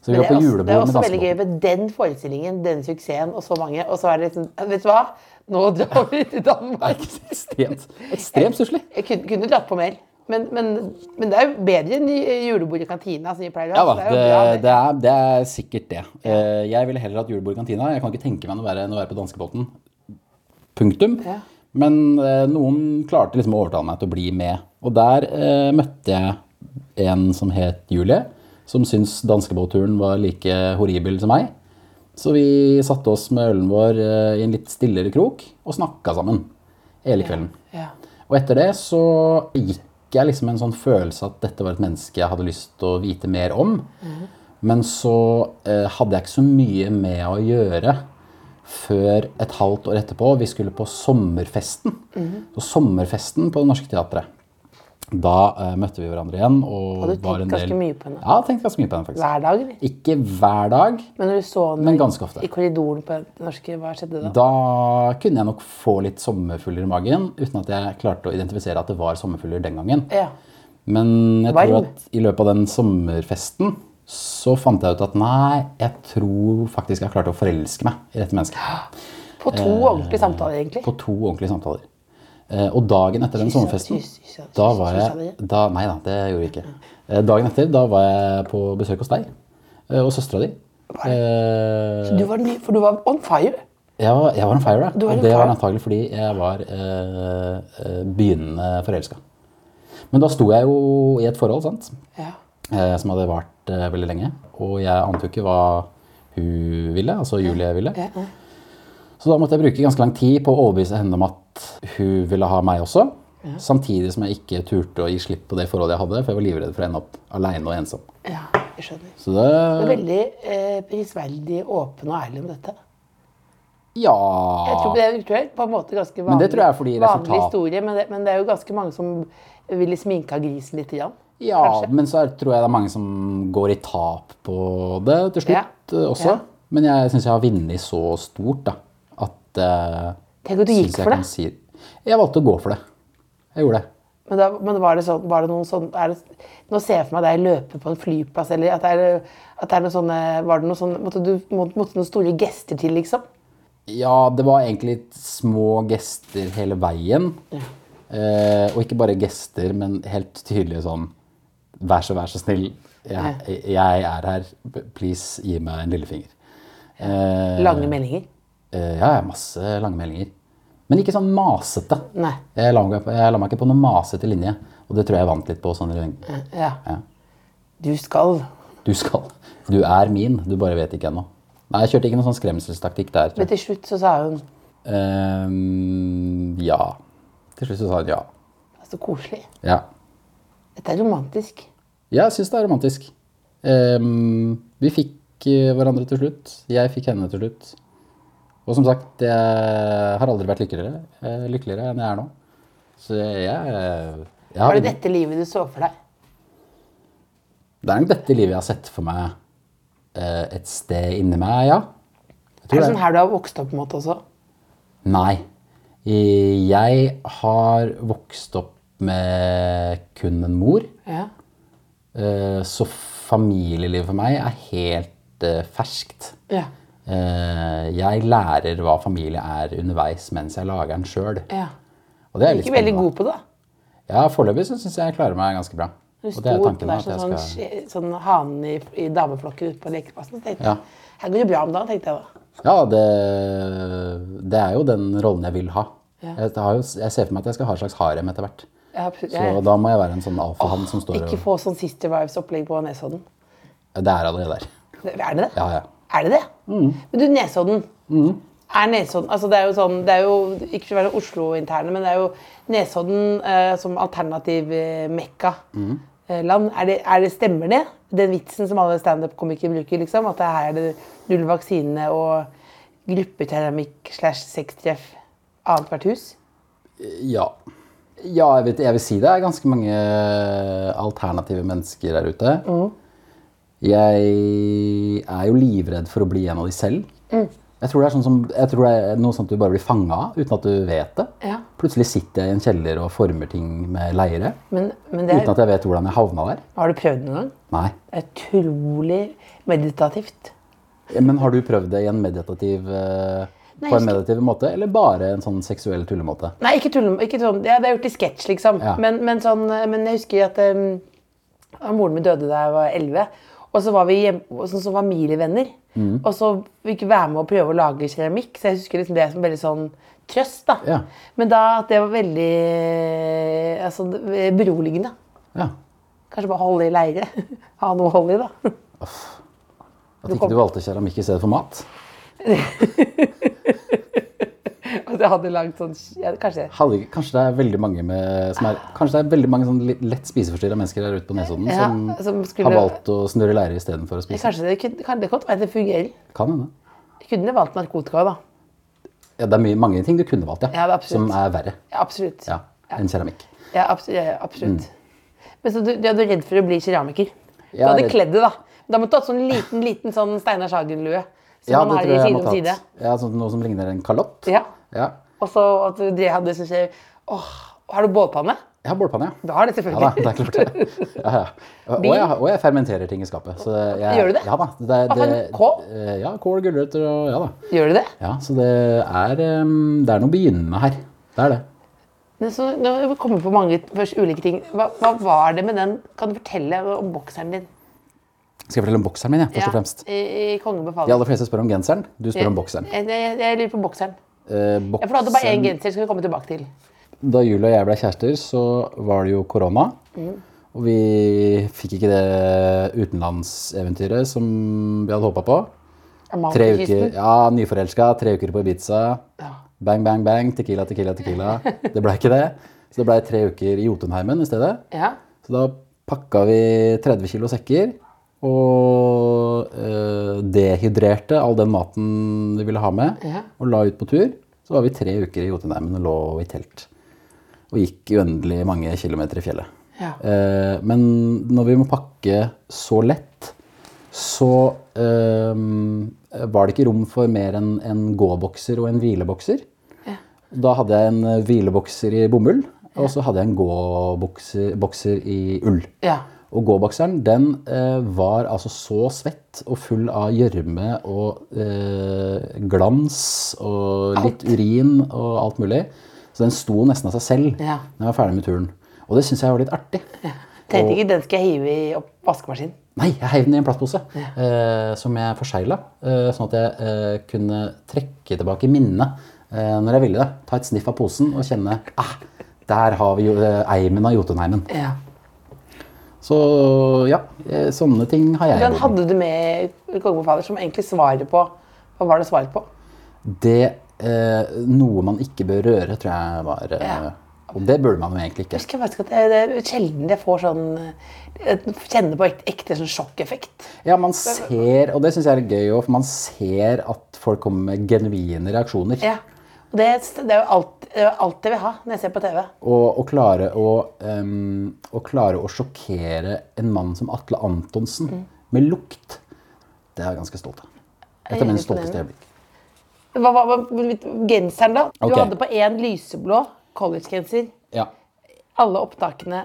[SPEAKER 4] Så vi
[SPEAKER 3] Men
[SPEAKER 4] var
[SPEAKER 3] Det er,
[SPEAKER 4] på
[SPEAKER 3] også, det er
[SPEAKER 4] julebord med
[SPEAKER 3] også veldig gøy
[SPEAKER 4] danskebåt.
[SPEAKER 3] med den forestillingen, den suksessen og så mange. Og så er det liksom Vet du hva? Nå drar vi til
[SPEAKER 4] Det
[SPEAKER 3] Danmark.
[SPEAKER 4] er ekstremt, ekstremt stusslig.
[SPEAKER 3] Jeg kunne, kunne dratt på mer. Men, men, men det er jo bedre enn i- i julebord i kantina, som vi pleier å
[SPEAKER 4] Ja da,
[SPEAKER 3] ha. så er jo
[SPEAKER 4] det,
[SPEAKER 3] bra, det.
[SPEAKER 4] det, er, det er sikkert det. Eh, Jeg ville heller hatt julebord i kantina. Jeg kan ikke tenke meg noe verre enn å være på danskebåten. Punktum.
[SPEAKER 3] Ja.
[SPEAKER 4] Men eh, noen klarte liksom å overtale meg til å bli med. Og der eh, møtte jeg en som het Julie, som syntes danskebåtturen var like horribel som meg. Så vi satte oss med ølen vår eh, i en litt stillere krok og snakka sammen hele kvelden.
[SPEAKER 3] Ja.
[SPEAKER 4] Og etter det så gikk jeg liksom med en sånn følelse at dette var et menneske jeg hadde lyst til å vite mer om.
[SPEAKER 3] Mhm.
[SPEAKER 4] Men så eh, hadde jeg ikke så mye med å gjøre før et halvt år etterpå. Vi skulle på sommerfesten.
[SPEAKER 3] Mhm.
[SPEAKER 4] Så sommerfesten på Det Norske Teatret. Da eh, møtte vi hverandre igjen. Og
[SPEAKER 3] Hadde du
[SPEAKER 4] var
[SPEAKER 3] tenkt
[SPEAKER 4] en
[SPEAKER 3] ganske
[SPEAKER 4] del...
[SPEAKER 3] mye på henne?
[SPEAKER 4] Ja, jeg tenkte ganske mye på henne, faktisk.
[SPEAKER 3] Hver dag, eller?
[SPEAKER 4] Ikke hver dag.
[SPEAKER 3] Men når du så
[SPEAKER 4] Men
[SPEAKER 3] henne
[SPEAKER 4] ganske ofte. Mm.
[SPEAKER 3] i korridoren på det norske, hva skjedde da?
[SPEAKER 4] Da kunne jeg nok få litt sommerfugler i magen, uten at jeg klarte å identifisere at det var sommerfugler den gangen.
[SPEAKER 3] Ja.
[SPEAKER 4] Men jeg
[SPEAKER 3] Varm.
[SPEAKER 4] tror at i løpet av den sommerfesten så fant jeg ut at nei, jeg tror faktisk jeg klarte å forelske meg i dette mennesket.
[SPEAKER 3] På to ordentlige samtaler, egentlig.
[SPEAKER 4] Eh, På to ordentlige samtaler. Eh, Og dagen etter den
[SPEAKER 3] Kyssa-
[SPEAKER 4] sommerfesten
[SPEAKER 3] kyss- kyssa-
[SPEAKER 4] da var
[SPEAKER 3] kyssa
[SPEAKER 4] jeg,
[SPEAKER 3] dere?
[SPEAKER 4] da, Nei da, det gjorde vi ikke. Eh, Dagen etter da var jeg på besøk hos deg eh, og søstera di. Eh,
[SPEAKER 3] Du var ny, for du var on fire.
[SPEAKER 4] Jeg var, jeg var en fire,
[SPEAKER 3] Du
[SPEAKER 4] da.
[SPEAKER 3] var
[SPEAKER 4] Og
[SPEAKER 3] on
[SPEAKER 4] det var
[SPEAKER 3] fire.
[SPEAKER 4] antagelig fordi jeg var eh, eh, begynnende forelska. Men da sto jeg jo i et forhold, sant?
[SPEAKER 3] Ja.
[SPEAKER 4] eh, som hadde vart eh, veldig lenge. Og jeg ante jo ikke hva hun ville, altså Julie ville.
[SPEAKER 3] Ja, ja.
[SPEAKER 4] Så da måtte jeg bruke ganske lang tid på å overbevise henne om at hun ville ha meg også. Samtidig som jeg ikke turte å gi slipp på det forholdet jeg hadde, for jeg var livredd for å ende opp aleine og ensom.
[SPEAKER 3] ja, jeg skjønner.
[SPEAKER 4] Så det
[SPEAKER 3] Du er veldig eh, prisverdig åpen og ærlig om dette.
[SPEAKER 4] Ja.
[SPEAKER 3] Jeg tror det er aktuelt, på en måte ganske vanlig,
[SPEAKER 4] Men det tror jeg er fordi
[SPEAKER 3] vanlig
[SPEAKER 4] resultat-
[SPEAKER 3] historie, men det, men det er jo ganske mange som ville sminka grisen litt. Grann.
[SPEAKER 4] Ja,
[SPEAKER 3] Kanskje.
[SPEAKER 4] men så er, tror jeg det er mange som går i tap på det til slutt eh, også.
[SPEAKER 3] Ja.
[SPEAKER 4] Men jeg syns jeg har vunnet så stort da, at eh,
[SPEAKER 3] Tenk at du gikk
[SPEAKER 4] synes jeg
[SPEAKER 3] for
[SPEAKER 4] kan
[SPEAKER 3] det.
[SPEAKER 4] Si, jeg valgte å gå for det. Jeg gjorde det.
[SPEAKER 3] Men, da, men var det sånn, var det noen sånn er det, Nå ser jeg for meg deg løpe på en flyplass, eller at det er, at det er noe sånne Var det noe sånn Måtte du må, måtte noen store gester til, liksom?
[SPEAKER 4] Ja, det var egentlig små gester hele veien. Eh, og ikke bare gester, men helt tydelig sånn Vær så, vær så snill. Jeg, jeg er her. Please, gi meg en lillefinger. Eh,
[SPEAKER 3] Lange meldinger?
[SPEAKER 4] Eh, Ja, ja, masse lange meldinger. Men ikke sånn masete.
[SPEAKER 3] Nei.
[SPEAKER 4] Jeg la, meg, jeg la meg ikke på noen masete linje, og det tror jeg jeg vant litt på. sånn i lengden.
[SPEAKER 3] Ja.
[SPEAKER 4] Ja.
[SPEAKER 3] Du skal
[SPEAKER 4] Du skal. Du er min, du bare vet ikke ennå. Nei, jeg kjørte ikke noen sånn skremselstaktikk der. Tror
[SPEAKER 3] Men
[SPEAKER 4] jeg.
[SPEAKER 3] til slutt så sa hun
[SPEAKER 4] Ehm, ja. Til slutt så sa hun ja.
[SPEAKER 3] Så koselig.
[SPEAKER 4] Ja,
[SPEAKER 3] Dette er romantisk.
[SPEAKER 4] ja jeg syns det er romantisk. Ehm, vi fikk eh, hverandre til slutt. Jeg fikk henne til slutt. Og som sagt, jeg har aldri vært lykkeligere, eh, lykkeligere enn jeg er nå. Så jeg, jeg, jeg har
[SPEAKER 3] Var det dette livet du så for deg?
[SPEAKER 4] Det er nok dette livet jeg har sett for meg eh, et sted inni meg, ja.
[SPEAKER 3] Er
[SPEAKER 4] Jeg tror
[SPEAKER 3] det
[SPEAKER 4] det.
[SPEAKER 3] sånn her du har vokst opp på en måte også?
[SPEAKER 4] Nei. Eh, Jeg har vokst opp med kun en mor,
[SPEAKER 3] Ja.
[SPEAKER 4] eh, så familielivet for meg er helt eh, ferskt.
[SPEAKER 3] Ja.
[SPEAKER 4] Eh, Jeg lærer hva familie er underveis mens jeg lager den sjøl.
[SPEAKER 3] ja.
[SPEAKER 4] Og det er litt
[SPEAKER 3] Ikke veldig
[SPEAKER 4] spennende.
[SPEAKER 3] god på det. da.
[SPEAKER 4] Ja, Foreløpig så syns jeg jeg klarer meg ganske bra.
[SPEAKER 3] Du
[SPEAKER 4] Og
[SPEAKER 3] sto
[SPEAKER 4] det er
[SPEAKER 3] oppe
[SPEAKER 4] tanken
[SPEAKER 3] der
[SPEAKER 4] at
[SPEAKER 3] som
[SPEAKER 4] jeg
[SPEAKER 3] sånn,
[SPEAKER 4] skal
[SPEAKER 3] sk- sånn hanen i, i dameflokken ute på lekeplassen. Så tenkte jeg,
[SPEAKER 4] Ja.
[SPEAKER 3] her går det bra om dagen, tenkte jeg da.
[SPEAKER 4] Ja, det, det er jo den rollen jeg vil ha.
[SPEAKER 3] Ja.
[SPEAKER 4] Jeg, har jo, jeg ser for meg at jeg skal ha et slags harem etter hvert.
[SPEAKER 3] Ja, absolutt.
[SPEAKER 4] Så
[SPEAKER 3] Ja, ja.
[SPEAKER 4] da må jeg være en sånn alfahann som står
[SPEAKER 3] Ikke
[SPEAKER 4] og
[SPEAKER 3] få sånn Sister Wives-opplegg på Nesodden.
[SPEAKER 4] Det er allerede der.
[SPEAKER 3] Det- Er det det?
[SPEAKER 4] Ja, ja.
[SPEAKER 3] Er det det? Men du, Nesodden. Er Nesodden altså det er jo sånn, det er jo, Ikke for å være Oslo-interne, men det er jo Nesodden eh, som alternativ eh, mekka. eh, Land. Er det, er det, stemmer det? Den vitsen som alle standup-komikere bruker? liksom, At det her er det null vaksine og gruppeteramikk slash sextreff annethvert hus?
[SPEAKER 4] Ja, ja jeg, vet, jeg vil si det er ganske mange eh, alternative mennesker der ute.
[SPEAKER 3] Mm.
[SPEAKER 4] Jeg er jo livredd for å bli en av de selv.
[SPEAKER 3] Mm.
[SPEAKER 4] Jeg tror det er, sånn som, jeg tror det er noe sånt du bare blir fanga av uten at du vet det.
[SPEAKER 3] Ja.
[SPEAKER 4] Plutselig sitter jeg i en kjeller og former ting med leire
[SPEAKER 3] Men, men det
[SPEAKER 4] uten
[SPEAKER 3] er,
[SPEAKER 4] at jeg vet hvordan jeg havna der.
[SPEAKER 3] har du prøvd det noen gang?
[SPEAKER 4] Nei.
[SPEAKER 3] Det er utrolig meditativt.
[SPEAKER 4] Men har du prøvd det i en meditativ,
[SPEAKER 3] Nei,
[SPEAKER 4] eh, på
[SPEAKER 3] jeg
[SPEAKER 4] en
[SPEAKER 3] skal-
[SPEAKER 4] meditativ måte, eller bare en sånn seksuell tullemåte?
[SPEAKER 3] Nei, ikke tull. Ikke sånn, ja, det er gjort i sketsj, liksom.
[SPEAKER 4] Ja.
[SPEAKER 3] Men, men, sånn, eh, men jeg husker at em, ja, moren min døde da jeg var 11. Og så var vi hjemme, og sånn som familievenner.
[SPEAKER 4] Mm.
[SPEAKER 3] Og så fikk vi være med og prøve å lage keramikk. Så jeg husker liksom det som veldig sånn trøst. da.
[SPEAKER 4] Ja.
[SPEAKER 3] Men da at det var veldig eh, altså, det- beroligende.
[SPEAKER 4] Ja.
[SPEAKER 3] Kanskje bare holde i leire. Ha noe å holde i, da.
[SPEAKER 4] At ikke du valgte keramikk i stedet for mat?
[SPEAKER 3] At jeg hadde lagd sånn ja, Kanskje
[SPEAKER 4] Hadde, ikke- kanskje det er veldig mange, med, som er, kanskje det er veldig mange sånn litt lett spiseforstyrra mennesker der ute på Nesodden
[SPEAKER 3] Ja,
[SPEAKER 4] som,
[SPEAKER 3] som skulle-
[SPEAKER 4] har valgt å snurre leire istedenfor å spise?
[SPEAKER 3] Kanskje det kunne kan det godt være at det fungerer.
[SPEAKER 4] Kan hende.
[SPEAKER 3] Jeg kunne valgt narkotika, da.
[SPEAKER 4] Ja, det er mye, mange ting du kunne valgt, ja.
[SPEAKER 3] Ja, det er absolutt.
[SPEAKER 4] som er verre
[SPEAKER 3] Ja, absolutt.
[SPEAKER 4] ja, enn keramikk.
[SPEAKER 3] Ja, absolutt. Ja, ja, absolutt.
[SPEAKER 4] Mm.
[SPEAKER 3] Men så du, du er du redd for å bli keramiker? Du
[SPEAKER 4] Jeg er
[SPEAKER 3] hadde
[SPEAKER 4] redd-
[SPEAKER 3] kledd det, da. Da måtte du hatt sånn liten liten sånn Steinar Sagen-lue. Som
[SPEAKER 4] Ja,
[SPEAKER 3] man
[SPEAKER 4] det
[SPEAKER 3] har i
[SPEAKER 4] tror jeg jeg
[SPEAKER 3] side om
[SPEAKER 4] måtte
[SPEAKER 3] side.
[SPEAKER 4] hatt. Ja, sånn, noe som ligner en kalott.
[SPEAKER 3] Ja.
[SPEAKER 4] Ja.
[SPEAKER 3] Og så at du drev hadde sånn skjev Åh, har du bålpanne?
[SPEAKER 4] Jeg har bålpanne, ja.
[SPEAKER 3] Du har det
[SPEAKER 4] Ja da,
[SPEAKER 3] selvfølgelig.
[SPEAKER 4] det er klart det. Ja, ja. Og,
[SPEAKER 3] Bil?
[SPEAKER 4] og, jeg, og jeg fermenterer ting i skapet. Så jeg,
[SPEAKER 3] Gjør du det?
[SPEAKER 4] Ja da. Det, er-
[SPEAKER 3] Hva for
[SPEAKER 4] det-
[SPEAKER 3] en kål?
[SPEAKER 4] eh, Ja, kål, gulrøtter og ja da.
[SPEAKER 3] Gjør du det?
[SPEAKER 4] Ja, så det er, em, det er noe begynnende her. Det er det.
[SPEAKER 3] Men så, nå kommer vi på mange først ulike ting. Hva, hva var det med den Kan du fortelle om bokseren din?
[SPEAKER 4] Skal jeg fortelle om bokseren min, jeg, først og fremst?
[SPEAKER 3] Ja, i, i Kongen
[SPEAKER 4] De
[SPEAKER 3] befaler.
[SPEAKER 4] aller fleste spør om genseren. Du spør om bokseren.
[SPEAKER 3] Jeg, jeg, jeg lurer på bokseren.
[SPEAKER 4] Eh,
[SPEAKER 3] Ja, for du hadde bare én
[SPEAKER 4] bokseren-
[SPEAKER 3] genser. skal vi komme tilbake til.
[SPEAKER 4] Da Julie og jeg ble kjærester, så var det jo korona.
[SPEAKER 3] Mm.
[SPEAKER 4] Og vi fikk ikke det utenlandseventyret som vi hadde håpa på.
[SPEAKER 3] Amalie
[SPEAKER 4] Tre
[SPEAKER 3] på
[SPEAKER 4] uker,
[SPEAKER 3] kysten.
[SPEAKER 4] ja, Nyforelska, tre uker på Ibiza. Bang, bang, bang. Tequila, tequila, tequila. Det ble ikke det. Så det ble tre uker i Jotunheimen i stedet.
[SPEAKER 3] Ja.
[SPEAKER 4] Så da pakka vi 30 kilo sekker og eh, dehydrerte all den maten vi ville ha med,
[SPEAKER 3] Ja.
[SPEAKER 4] og la ut på tur. Så var vi tre uker i Jotunheimen og lå i telt. Og gikk uendelig mange kilometer i fjellet.
[SPEAKER 3] Ja.
[SPEAKER 4] Eh, men når vi må pakke så lett, så eh, var det ikke rom for mer enn en gåbokser og en hvilebokser. Da hadde jeg en eh, hvilebokser i bomull, og så hadde jeg en gåbokser bokser i ull.
[SPEAKER 3] ja.
[SPEAKER 4] Og gåbokseren den eh, var altså så svett og full av gjørme og eh, glans og litt urin og alt mulig. Så den sto nesten av seg selv
[SPEAKER 3] Ja.
[SPEAKER 4] når jeg var ferdig med turen. Og det syns jeg var litt artig.
[SPEAKER 3] Tenkte ikke den skal jeg hive i opp vaskemaskinen.
[SPEAKER 4] Nei, jeg heiv den i en plastpose eh, som jeg forsegla. Eh, sånn at jeg eh, kunne trekke tilbake minnet eh, når jeg ville det. Ta et sniff av posen og kjenne ah, Der har vi jo eh, eimen av Jotunheimen.
[SPEAKER 3] Ja.
[SPEAKER 4] Så Så ja, eh, sånne ting har jeg.
[SPEAKER 6] Den
[SPEAKER 4] jobbet med.
[SPEAKER 6] hadde du med i Kongebefaler, som egentlig svarer på Hva var det svaret på?
[SPEAKER 4] Det eh, Noe man ikke bør røre, tror jeg var eh,
[SPEAKER 6] Ja.
[SPEAKER 4] Og det burde man jo egentlig
[SPEAKER 6] Jeg
[SPEAKER 4] ikke.
[SPEAKER 6] husker faktisk at eh, det, det er sjelden jeg får sånn jeg Kjenner på ekte, ekte sånn sjokkeffekt.
[SPEAKER 4] Ja, man ser, og det syns jeg er litt gøy òg, for man ser at folk kommer med genuine reaksjoner.
[SPEAKER 6] Ja. Og det, det er jo alt, det er jo alt jeg vil ha når jeg ser på TV.
[SPEAKER 4] Og å klare å, ehm, å klare å sjokkere en mann som Atle Antonsen med lukt, det er jeg ganske stolt av. Et av mine stolteste øyeblikk.
[SPEAKER 6] Hva var hva- genseren, da? Du
[SPEAKER 4] Ok.
[SPEAKER 6] hadde på én lyseblå collegegenser.
[SPEAKER 4] Ja.
[SPEAKER 6] Alle opptakene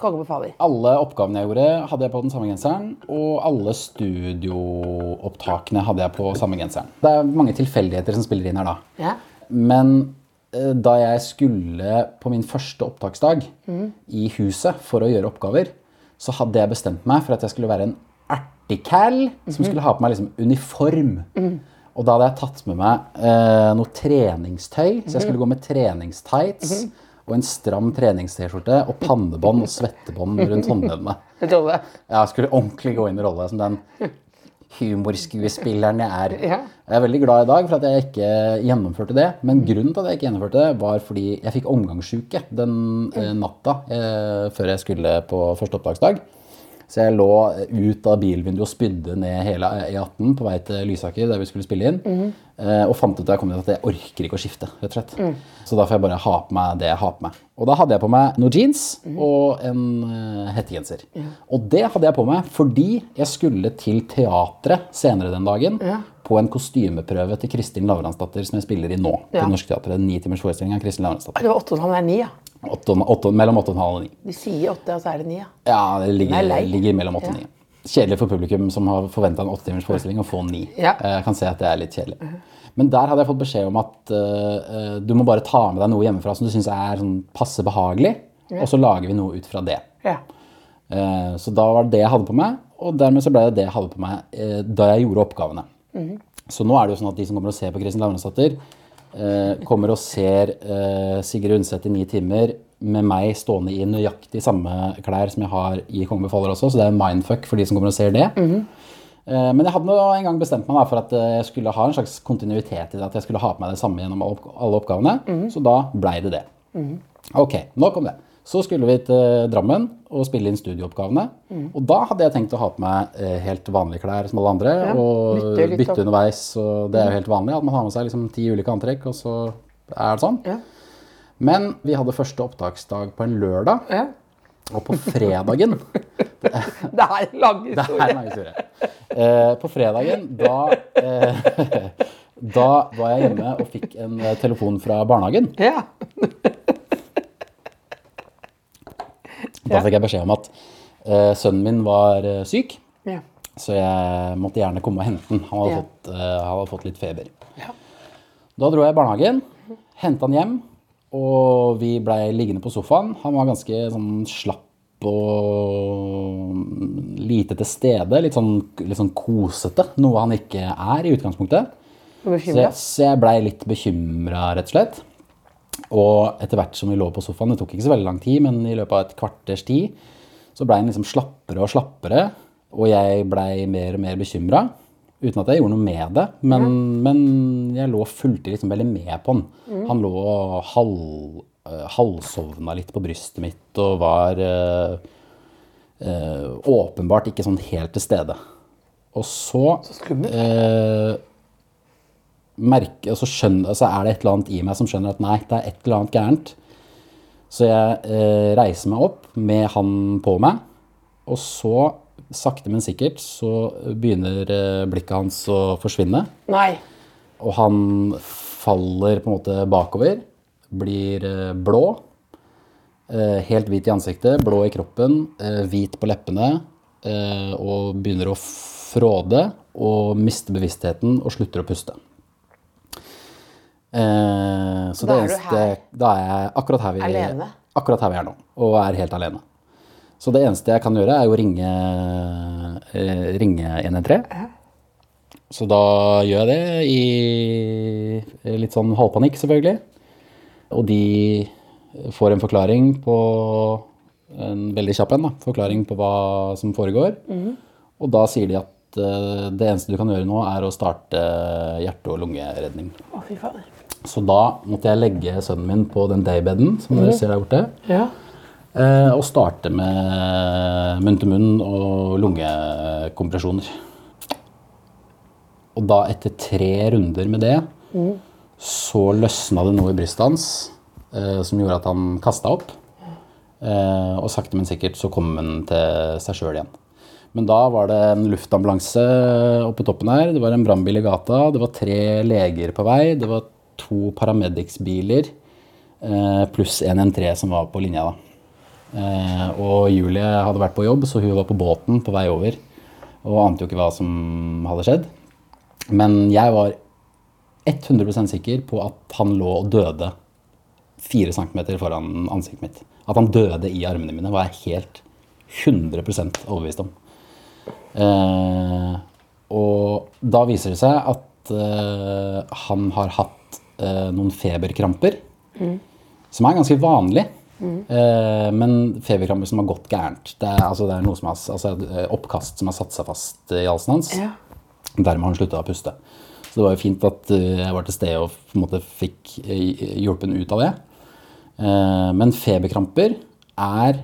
[SPEAKER 6] Kongen befaler.
[SPEAKER 4] Alle oppgavene jeg gjorde, hadde jeg på den samme genseren. Og alle studioopptakene hadde jeg på samme genseren. Det er mange tilfeldigheter som spiller inn her, da.
[SPEAKER 6] Ja.
[SPEAKER 4] Men eh, da jeg skulle på min første opptaksdag i huset for å gjøre oppgaver, så hadde jeg bestemt meg for at jeg skulle være en ertekæl som skulle ha på meg liksom uniform. Og da hadde jeg tatt med meg eh, noe treningstøy, så jeg skulle gå med treningstights og en stram treningst-T-skjorte og pannebånd og svettebånd rundt håndleddene.
[SPEAKER 6] Jeg trodde det.
[SPEAKER 4] Jeg skulle ordentlig gå inn i rolle som den humorskuespilleren jeg er.
[SPEAKER 6] Ja.
[SPEAKER 4] Jeg er veldig glad i dag for at jeg ikke gjennomførte det. Men grunnen til at jeg ikke gjennomførte det, var fordi jeg fikk omgangssjuke den eh, natta eh, før jeg skulle på første opptaksdag. Så jeg lå ut av bilvinduet og spydde ned hele E18 på vei til Lysaker, der vi skulle spille inn. eh, Og fant ut da jeg kom dit at jeg orker ikke å skifte, rett og slett. Så da får jeg bare ha på meg det jeg har på meg. Og da hadde jeg på meg noen jeans og en eh, hettegenser. Og det hadde jeg på meg fordi jeg skulle til teatret senere den dagen. På en kostymeprøve til Kristin Lavransdatter, som jeg spiller i nå.
[SPEAKER 6] Ja.
[SPEAKER 4] På Norsk Teater, en ni timers forestilling av Kristin Lavransdatter.
[SPEAKER 6] Det var åtte og en halv, det er ni, ja.
[SPEAKER 4] Åtte, åtte, mellom åtte og en halv og ni.
[SPEAKER 6] De sier åtte, og så er det ni, ja.
[SPEAKER 4] Ja, det ligger,
[SPEAKER 6] Den er lei.
[SPEAKER 4] ligger mellom 8 og
[SPEAKER 6] Ja.
[SPEAKER 4] 9. Kjedelig for publikum som har forventa en åttetimers forestilling, å få 9.
[SPEAKER 6] Ja.
[SPEAKER 4] Jeg kan se at det er litt kjedelig. Men der hadde jeg fått beskjed om at eh, eh, du må bare ta med deg noe hjemmefra som du syns er sånn passe behagelig, og så lager vi noe ut fra det.
[SPEAKER 6] ja.
[SPEAKER 4] Eh, Så da var det det jeg hadde på meg, og dermed så ble det det jeg hadde på meg eh, da jeg gjorde oppgavene. Så nå er det jo sånn at de som kommer og ser på Kristin Lavransdatter, eh, kommer og ser eh, Sigrid Undset i ni timer med meg stående i nøyaktig samme klær som jeg har i Kongen befaler også, så det er en mindfuck for de som kommer og ser det. Eh, Men jeg hadde nå en gang bestemt meg da, for at eh, jeg skulle ha en slags kontinuitet i det, at jeg skulle ha på meg det samme gjennom alle oppg- alle oppgavene,
[SPEAKER 6] Mhm.
[SPEAKER 4] så da blei det det. Ok, nok om det. Så skulle vi til Drammen og spille inn studieoppgavene.
[SPEAKER 6] Mhm.
[SPEAKER 4] Og da hadde jeg tenkt å ha på meg eh, helt vanlige klær som alle andre. og
[SPEAKER 6] bytte
[SPEAKER 4] bytte,
[SPEAKER 6] litt opp. Mhm.
[SPEAKER 4] underveis. Og det er jo helt vanlig at man har med seg liksom ti ulike antrekk, og så er det sånn.
[SPEAKER 6] Ja.
[SPEAKER 4] Men vi hadde første opptaksdag på en lørdag,
[SPEAKER 6] ja.
[SPEAKER 4] og på fredagen
[SPEAKER 6] Det er en lang
[SPEAKER 4] det er
[SPEAKER 6] historie.
[SPEAKER 4] en lang historie. Eh, på fredagen, da, eh, da var jeg hjemme og fikk en eh, telefon fra barnehagen.
[SPEAKER 6] Ja.
[SPEAKER 4] Da fikk jeg beskjed om at eh, sønnen min var eh, syk,
[SPEAKER 6] ja.
[SPEAKER 4] så jeg måtte gjerne komme og hente den. Han hadde,
[SPEAKER 6] Ja.
[SPEAKER 4] fått, eh, han hadde fått litt feber.
[SPEAKER 6] Ja.
[SPEAKER 4] Da dro jeg i barnehagen, henta han hjem, og vi blei liggende på sofaen. Han var ganske sånn slapp og mm, lite til stede. Litt sånn, litt sånn kosete, noe han ikke er i utgangspunktet.
[SPEAKER 6] Du er
[SPEAKER 4] Så jeg,
[SPEAKER 6] bekymret?
[SPEAKER 4] så jeg blei litt bekymra, rett og slett. Og etter hvert som vi lå på sofaen, det tok ikke så veldig lang tid, men i løpet av et kvarters tid, så blei han liksom slappere og slappere. Og jeg blei mer og mer bekymra. Uten at jeg gjorde noe med det. Men, men jeg lå og fulgte liksom veldig med på han.
[SPEAKER 6] Mm.
[SPEAKER 4] Han lå og halv, eh, halvsovna litt på brystet mitt og var eh, eh, åpenbart ikke sånn helt til stede. Og så
[SPEAKER 6] Skummelt.
[SPEAKER 4] eh, merke, og så skjønner, altså er det et eller annet i meg som skjønner at nei, det er et eller annet gærent. Så jeg eh, reiser meg opp med han på meg, og så sakte men sikkert så begynner eh, blikket hans å forsvinne.
[SPEAKER 6] Nei.
[SPEAKER 4] Og han faller på en måte bakover, blir eh, blå, eh, helt hvit i ansiktet, blå i kroppen, eh, hvit på leppene, eh, og begynner å fråde og miste bevisstheten og slutter å puste. Eh, så
[SPEAKER 6] Da
[SPEAKER 4] det
[SPEAKER 6] er du
[SPEAKER 4] eneste Da er jeg akkurat her vi,
[SPEAKER 6] Alene?
[SPEAKER 4] akkurat her vi er nå, og er helt alene. Så det eneste jeg kan gjøre, er jo å ringe, eh, ringe 113. Så da gjør jeg det i litt sånn halvpanikk, selvfølgelig. Og de får en forklaring på en veldig kjapp en, da, forklaring på hva som foregår. Og da sier de at eh, det eneste du kan gjøre nå, er å starte hjerte- og lungeredning.
[SPEAKER 6] Å, fy fader.
[SPEAKER 4] Så da måtte jeg legge sønnen min på den daybeden som dere ser der borte.
[SPEAKER 6] Ja.
[SPEAKER 4] Eh, og starte med munn-til-munn og lungekompresjoner. Og da, etter tre runder med det, så løsna det noe i brystet hans eh, som gjorde at han kasta opp. Eh, og sakte, men sikkert så kom han til seg sjøl igjen. Men da var det en luftambulanse oppe i toppen her, det var en brannbil i gata, det var tre leger på vei, det var to paramedics-biler eh, pluss en N3 som var på linja. da. Eh, og Julie hadde vært på jobb, så hun var på båten på vei over og ante jo ikke hva som hadde skjedd. Men jeg var 100 sikker på at han lå og døde fire centimeter foran ansiktet mitt. At han døde i armene mine, var jeg helt 100 overbevist om. Eh, og da viser det seg at eh, han har hatt eh, noen feberkramper, som er ganske vanlig. Eh, men feberkramper som har gått gærent. Det er, altså, det er noe som har, altså, eh, oppkast som har satt seg fast i halsen hans.
[SPEAKER 6] Ja.
[SPEAKER 4] Dermed har han slutta å puste. Så det var jo fint at eh, jeg var til stede og på en måte fikk eh, hjulpet ham ut av det. Eh, Men feberkramper er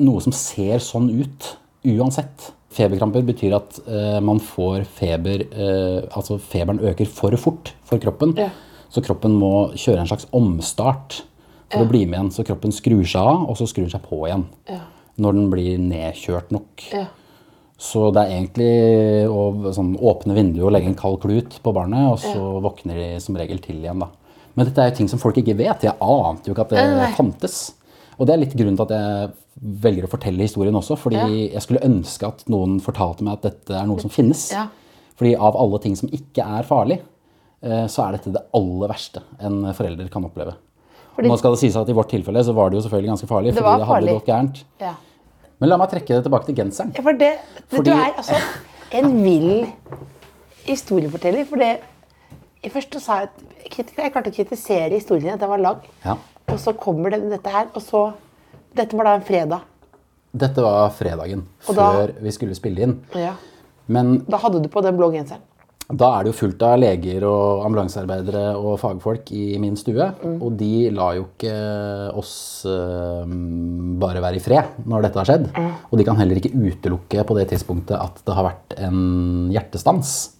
[SPEAKER 4] noe som ser sånn ut uansett. Feberkramper betyr at eh, man får feber eh, Altså feberen øker for fort for kroppen.
[SPEAKER 6] Ja.
[SPEAKER 4] Så kroppen må kjøre en slags omstart for å bli med igjen. Så kroppen skrur seg av, og så skrur den seg på igjen.
[SPEAKER 6] Ja.
[SPEAKER 4] Når den blir nedkjørt nok.
[SPEAKER 6] Ja.
[SPEAKER 4] Så det er egentlig å sånn, åpne vinduet og legge en kald klut på barnet, og så våkner de som regel til igjen. da. Men dette er jo ting som folk ikke vet. Jeg ante jo ikke at det
[SPEAKER 6] Nei, nei, nei.
[SPEAKER 4] fantes. Og det er litt grunnen til at jeg velger å fortelle historien også, fordi jeg skulle ønske at noen fortalte meg at dette er noe som finnes.
[SPEAKER 6] Ja.
[SPEAKER 4] Fordi av alle ting som ikke er farlig, eh, så er dette det aller verste en forelder kan oppleve. Nå skal det sies at i vårt tilfelle så var det jo selvfølgelig ganske farlig,
[SPEAKER 6] Det
[SPEAKER 4] fordi
[SPEAKER 6] var
[SPEAKER 4] det hadde
[SPEAKER 6] farlig.
[SPEAKER 4] gått gærent.
[SPEAKER 6] Ja.
[SPEAKER 4] Men la meg trekke det tilbake til genseren.
[SPEAKER 6] Ja, for det, det
[SPEAKER 4] Fordi-
[SPEAKER 6] Du er altså en vill historieforteller. For det jeg Først så sa jeg at kritikere, jeg klarte å kritisere historien din, at den var lang.
[SPEAKER 4] Ja.
[SPEAKER 6] Og så kommer det, dette her, og så Dette var da en fredag.
[SPEAKER 4] Dette var fredagen
[SPEAKER 6] Og da-
[SPEAKER 4] før vi skulle spille inn.
[SPEAKER 6] Ja.
[SPEAKER 4] Men
[SPEAKER 6] Da hadde du på den blå genseren.
[SPEAKER 4] da er det jo fullt av leger og ambulansearbeidere og fagfolk i min stue. Og de lar jo ikke oss eh, bare være i fred når dette har skjedd. Og de kan heller ikke utelukke på det tidspunktet at det har vært en hjertestans.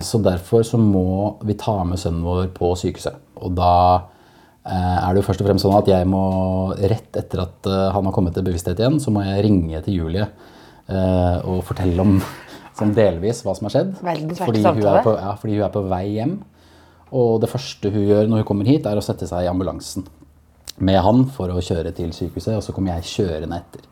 [SPEAKER 4] Så derfor så må vi ta med sønnen vår på sykehuset. Og da eh, er det jo først og fremst sånn at jeg må rett etter at eh, han har kommet til bevissthet igjen, så må jeg ringe til Julie eh, og fortelle om sånn delvis hva som har skjedd.
[SPEAKER 6] Verdens verste
[SPEAKER 4] Fordi hun, er
[SPEAKER 6] samtale.
[SPEAKER 4] på, ja, fordi hun er på vei hjem. Og det første hun gjør når hun kommer hit, er å sette seg i ambulansen med han for å kjøre til sykehuset, og så kommer jeg kjørende etter.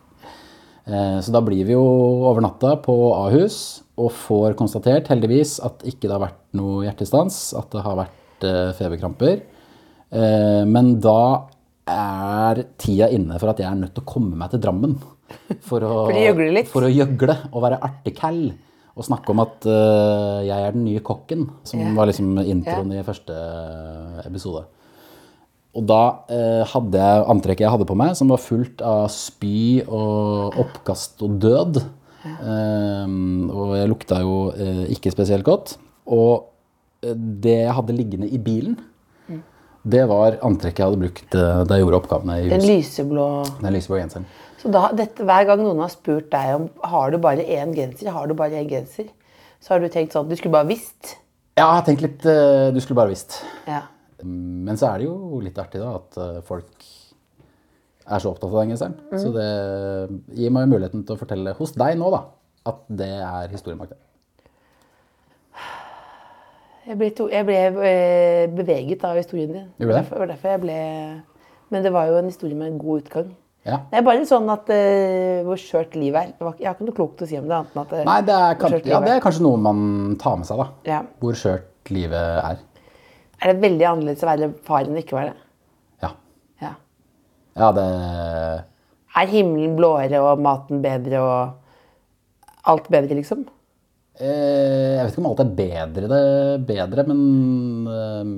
[SPEAKER 4] Eh, Så da blir vi jo over natta på Ahus og får konstatert heldigvis at ikke det har vært noe hjertestans, at det har vært eh, feberkramper. Eh, Men da er tida inne for at jeg er nødt til å komme meg til Drammen. For å,
[SPEAKER 6] For de gjøgler litt.
[SPEAKER 4] For å gjøgle og være artekall. Og snakke om at eh, jeg er den nye kokken, som var liksom introen i første eh, episode. Og da eh, hadde jeg antrekket jeg hadde på meg, som var fullt av spy og oppkast og død. Ehm, og jeg lukta jo eh, ikke spesielt godt. Og eh, det jeg hadde liggende i bilen, det var antrekket jeg hadde brukt eh, da jeg gjorde oppgavene i
[SPEAKER 6] Den
[SPEAKER 4] huset.
[SPEAKER 6] lyseblå.
[SPEAKER 4] Den lyseblå genseren.
[SPEAKER 6] Så da, dette, hver gang noen har spurt deg om har du bare én genser, har du bare én genser, så har du tenkt sånn Du skulle bare visst.
[SPEAKER 4] Ja, jeg har tenkt litt eh, Du skulle bare visst.
[SPEAKER 6] Ja.
[SPEAKER 4] Men så er det jo litt artig da at eh, folk er så opptatt av den genseren. Så det gir meg jo muligheten til å fortelle hos deg nå da, at det er historien bak det.
[SPEAKER 6] Jeg ble, to, jeg ble eh, beveget av historien din.
[SPEAKER 4] Gjorde du det?
[SPEAKER 6] Derfor- var derfor jeg ble... Men det var jo en historie med en god utgang.
[SPEAKER 4] Ja.
[SPEAKER 6] Det er bare litt sånn at eh, hvor skjørt livet er. Det var, ikke- jeg har ikke noe klokt å si om det annet enn at eh,
[SPEAKER 4] Nei, det er,
[SPEAKER 6] hvor skjørt
[SPEAKER 4] kanskje, ja,
[SPEAKER 6] livet
[SPEAKER 4] det er kanskje noe man tar med seg da.
[SPEAKER 6] Ja.
[SPEAKER 4] Hvor skjørt livet er.
[SPEAKER 6] er. Er det veldig annerledes å være far enn å ikke være det?
[SPEAKER 4] Ja.
[SPEAKER 6] Ja.
[SPEAKER 4] Ja, det...
[SPEAKER 6] Er himmelen blåere og maten bedre og alt bedre, liksom?
[SPEAKER 4] Eh, jeg vet ikke om alt er bedre, det er bedre, men eh,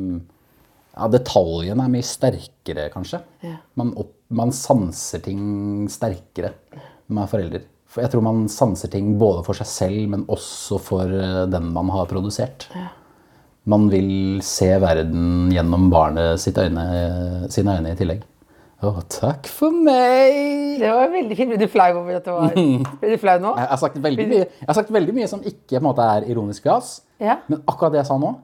[SPEAKER 4] Ja, detaljene er mye sterkere, kanskje.
[SPEAKER 3] Ja.
[SPEAKER 4] Man, opp, man sanser ting sterkere når man er forelder. For jeg tror man sanser ting både for seg selv, men også for eh, den man har produsert. Man vil se verden gjennom barnet sitt øyne, eh, sine øyne i tillegg. Å, takk for meg!
[SPEAKER 3] Det var veldig fint. Ble du flau over at det var Ble du flau nå?
[SPEAKER 4] Jeg har sagt veldig mye, jeg har sagt veldig mye som ikke på en måte, er ironisk gas,
[SPEAKER 3] Ja.
[SPEAKER 4] men akkurat det jeg sa nå,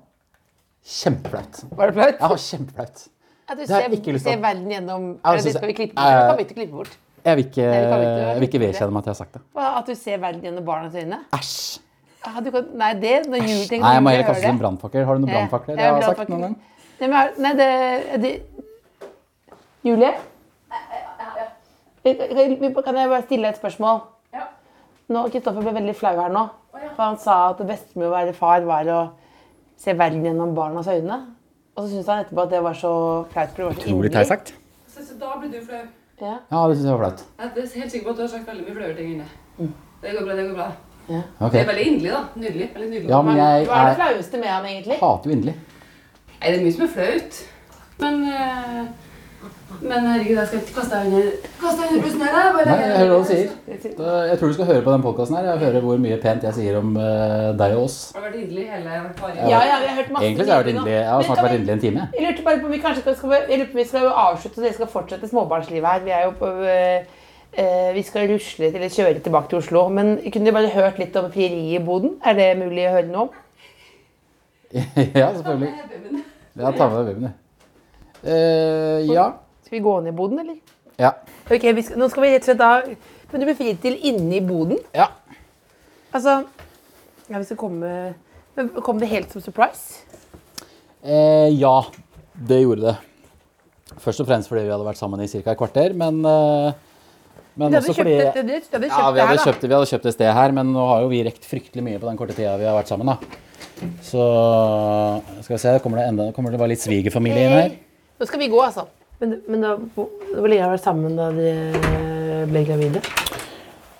[SPEAKER 4] kjempeflaut.
[SPEAKER 3] Var det flaut?
[SPEAKER 4] Jeg har kjempeflaut.
[SPEAKER 3] Ja, du
[SPEAKER 4] har
[SPEAKER 3] ser,
[SPEAKER 4] jeg ikke lyst til.
[SPEAKER 3] ser verden gjennom
[SPEAKER 4] Ja, jeg
[SPEAKER 3] Ja, Det
[SPEAKER 4] synes-
[SPEAKER 3] skal vi klippe
[SPEAKER 4] Ja, ja, ja.
[SPEAKER 3] Det kan vi ikke klippe bort.
[SPEAKER 4] Jeg vil ikke,
[SPEAKER 3] vi kan vel ikke-
[SPEAKER 4] jeg vil ikke vedkjenne meg at jeg har sagt det.
[SPEAKER 3] Hva, At du ser verden gjennom barnas øyne?
[SPEAKER 4] Æsj!
[SPEAKER 3] Ja, du kan, nei, det når jul tenker
[SPEAKER 4] Nei, jeg må
[SPEAKER 3] jeg
[SPEAKER 4] heller
[SPEAKER 3] hører
[SPEAKER 4] kaste
[SPEAKER 3] det.
[SPEAKER 4] en brannfakkel. Har du noen
[SPEAKER 3] Ja,
[SPEAKER 4] brannfakler?
[SPEAKER 3] jeg
[SPEAKER 4] Jeg
[SPEAKER 3] har
[SPEAKER 4] har sagt
[SPEAKER 3] brannfakkel.
[SPEAKER 4] noen gang.
[SPEAKER 3] Nei, men, er- nei, det, det Julie? Kan vi- Kan jeg bare stille et spørsmål?
[SPEAKER 7] Ja.
[SPEAKER 3] Nå, Kristoffer ble veldig flau her nå. For han sa at det beste med å være far var å se verden gjennom barnas øyne. Og så syntes han etterpå at det var så flaut. for det var så
[SPEAKER 4] Utrolig
[SPEAKER 3] inderlig.
[SPEAKER 4] teit sagt.
[SPEAKER 8] Så, så da blir du flau.
[SPEAKER 3] Ja.
[SPEAKER 4] Ja, det syns jeg var flaut.
[SPEAKER 8] Jeg er helt sikker på at du har sagt veldig mye flauere ting enn det.
[SPEAKER 4] Mm.
[SPEAKER 8] Det går bra, det går bra.
[SPEAKER 4] Ok.
[SPEAKER 8] Det er veldig inderlig, da. Nydelig. Veldig nydelig.
[SPEAKER 4] Ja, men jeg
[SPEAKER 3] Hva er det
[SPEAKER 4] er,
[SPEAKER 3] flaueste med han egentlig?
[SPEAKER 4] hater jo inderlig.
[SPEAKER 8] Nei, det er mye som er flaut. Men eh, Men herregud, jeg skal ikke kaste deg under Kaste deg under bussen her, jeg.
[SPEAKER 4] Nei, jeg hører hva du sier. Da- Jeg tror du skal høre på den podkasten her. Jeg hører hvor mye pent jeg sier om eh, deg og oss.
[SPEAKER 8] Har du vært inderlig hele faringen?
[SPEAKER 3] Ja, ja, vi har hørt masse
[SPEAKER 4] Egentlig så har jeg vært
[SPEAKER 3] lyder nå.
[SPEAKER 4] inderlig. Jeg har
[SPEAKER 3] Men
[SPEAKER 4] snart
[SPEAKER 3] kan
[SPEAKER 4] vært
[SPEAKER 3] vi-
[SPEAKER 4] inderlig en time. jeg.
[SPEAKER 3] Jeg lurte bare på om vi kanskje skal, skal, vi- jeg lurer på om vi skal jo avslutte, og dere skal fortsette småbarnslivet her. Vi er jo på, øh, øh, vi skal rusle til- eller kjøre tilbake til Oslo. Men kunne dere bare hørt litt om frieriet i Boden? Er det mulig å høre noe om?
[SPEAKER 4] Ja, selvfølgelig. Ja, ta med deg babyen, du. Eh, ja.
[SPEAKER 3] Skal vi gå ned i Boden, eller?
[SPEAKER 4] Ja.
[SPEAKER 3] Ok, vi skal, nå skal vi rett og slett da Men du blir fri til inne i Boden?
[SPEAKER 4] Ja.
[SPEAKER 3] Altså Ja, vi skal komme Men kom det helt som surprise?
[SPEAKER 4] Eh, ja, det gjorde det. Først og fremst fordi vi hadde vært sammen i ca. et kvarter, men, eh, men
[SPEAKER 3] Du hadde
[SPEAKER 4] også fordi
[SPEAKER 3] kjøpt, det- det- det hadde kjøpt
[SPEAKER 4] Ja, vi
[SPEAKER 3] det her,
[SPEAKER 4] hadde
[SPEAKER 3] da.
[SPEAKER 4] kjøpt, vi hadde kjøpt et sted her, men nå har jo vi rekt fryktelig mye på den korte tida vi har vært sammen. da. Så skal vi se, kommer det, enda, kommer det bare litt svigerfamilie inn
[SPEAKER 3] Eh.
[SPEAKER 4] her?
[SPEAKER 3] Nå skal vi gå, altså. Men, men da, hvor hvor lenge har dere vært sammen da dere ble gravide?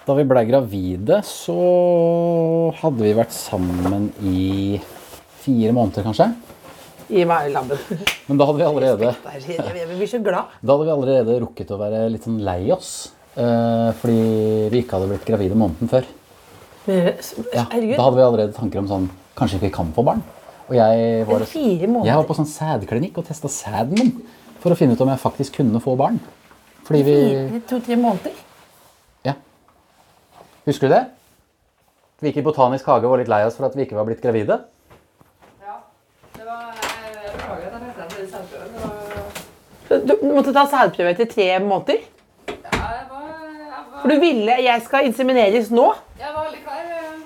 [SPEAKER 4] Da vi blei gravide, så hadde vi vært sammen i fire måneder, kanskje.
[SPEAKER 3] Gi meg labben.
[SPEAKER 4] Men da hadde vi allerede
[SPEAKER 3] Der, jeg, jeg blir så glad.
[SPEAKER 4] Da hadde vi allerede rukket å være litt sånn lei oss. eh, fordi vi ikke hadde blitt gravide måneden før. Ja, da
[SPEAKER 3] Eh, Herregud,
[SPEAKER 4] hadde vi allerede tanker om sånn Kanskje ikke vi kan få barn? Og jeg var,
[SPEAKER 3] fire
[SPEAKER 4] jeg
[SPEAKER 3] måneder
[SPEAKER 4] var på sånn sædklinikk og testa sæden min for å finne ut om jeg faktisk kunne få barn. Fordi vi
[SPEAKER 3] To-tre måneder?
[SPEAKER 4] Ja. Husker du det? Vi gikk i Botanisk hage og var litt lei oss for at vi ikke var blitt gravide.
[SPEAKER 8] Det var jeg- Jeg beklager at jeg presset deg til den selvprøven. Det var-
[SPEAKER 3] Du, du måtte ta sædprøve etter tre måneder?
[SPEAKER 8] Ja, jeg var Jeg var,
[SPEAKER 3] For du ville 'jeg skal insemineres nå'?
[SPEAKER 8] jeg var veldig klar. eh.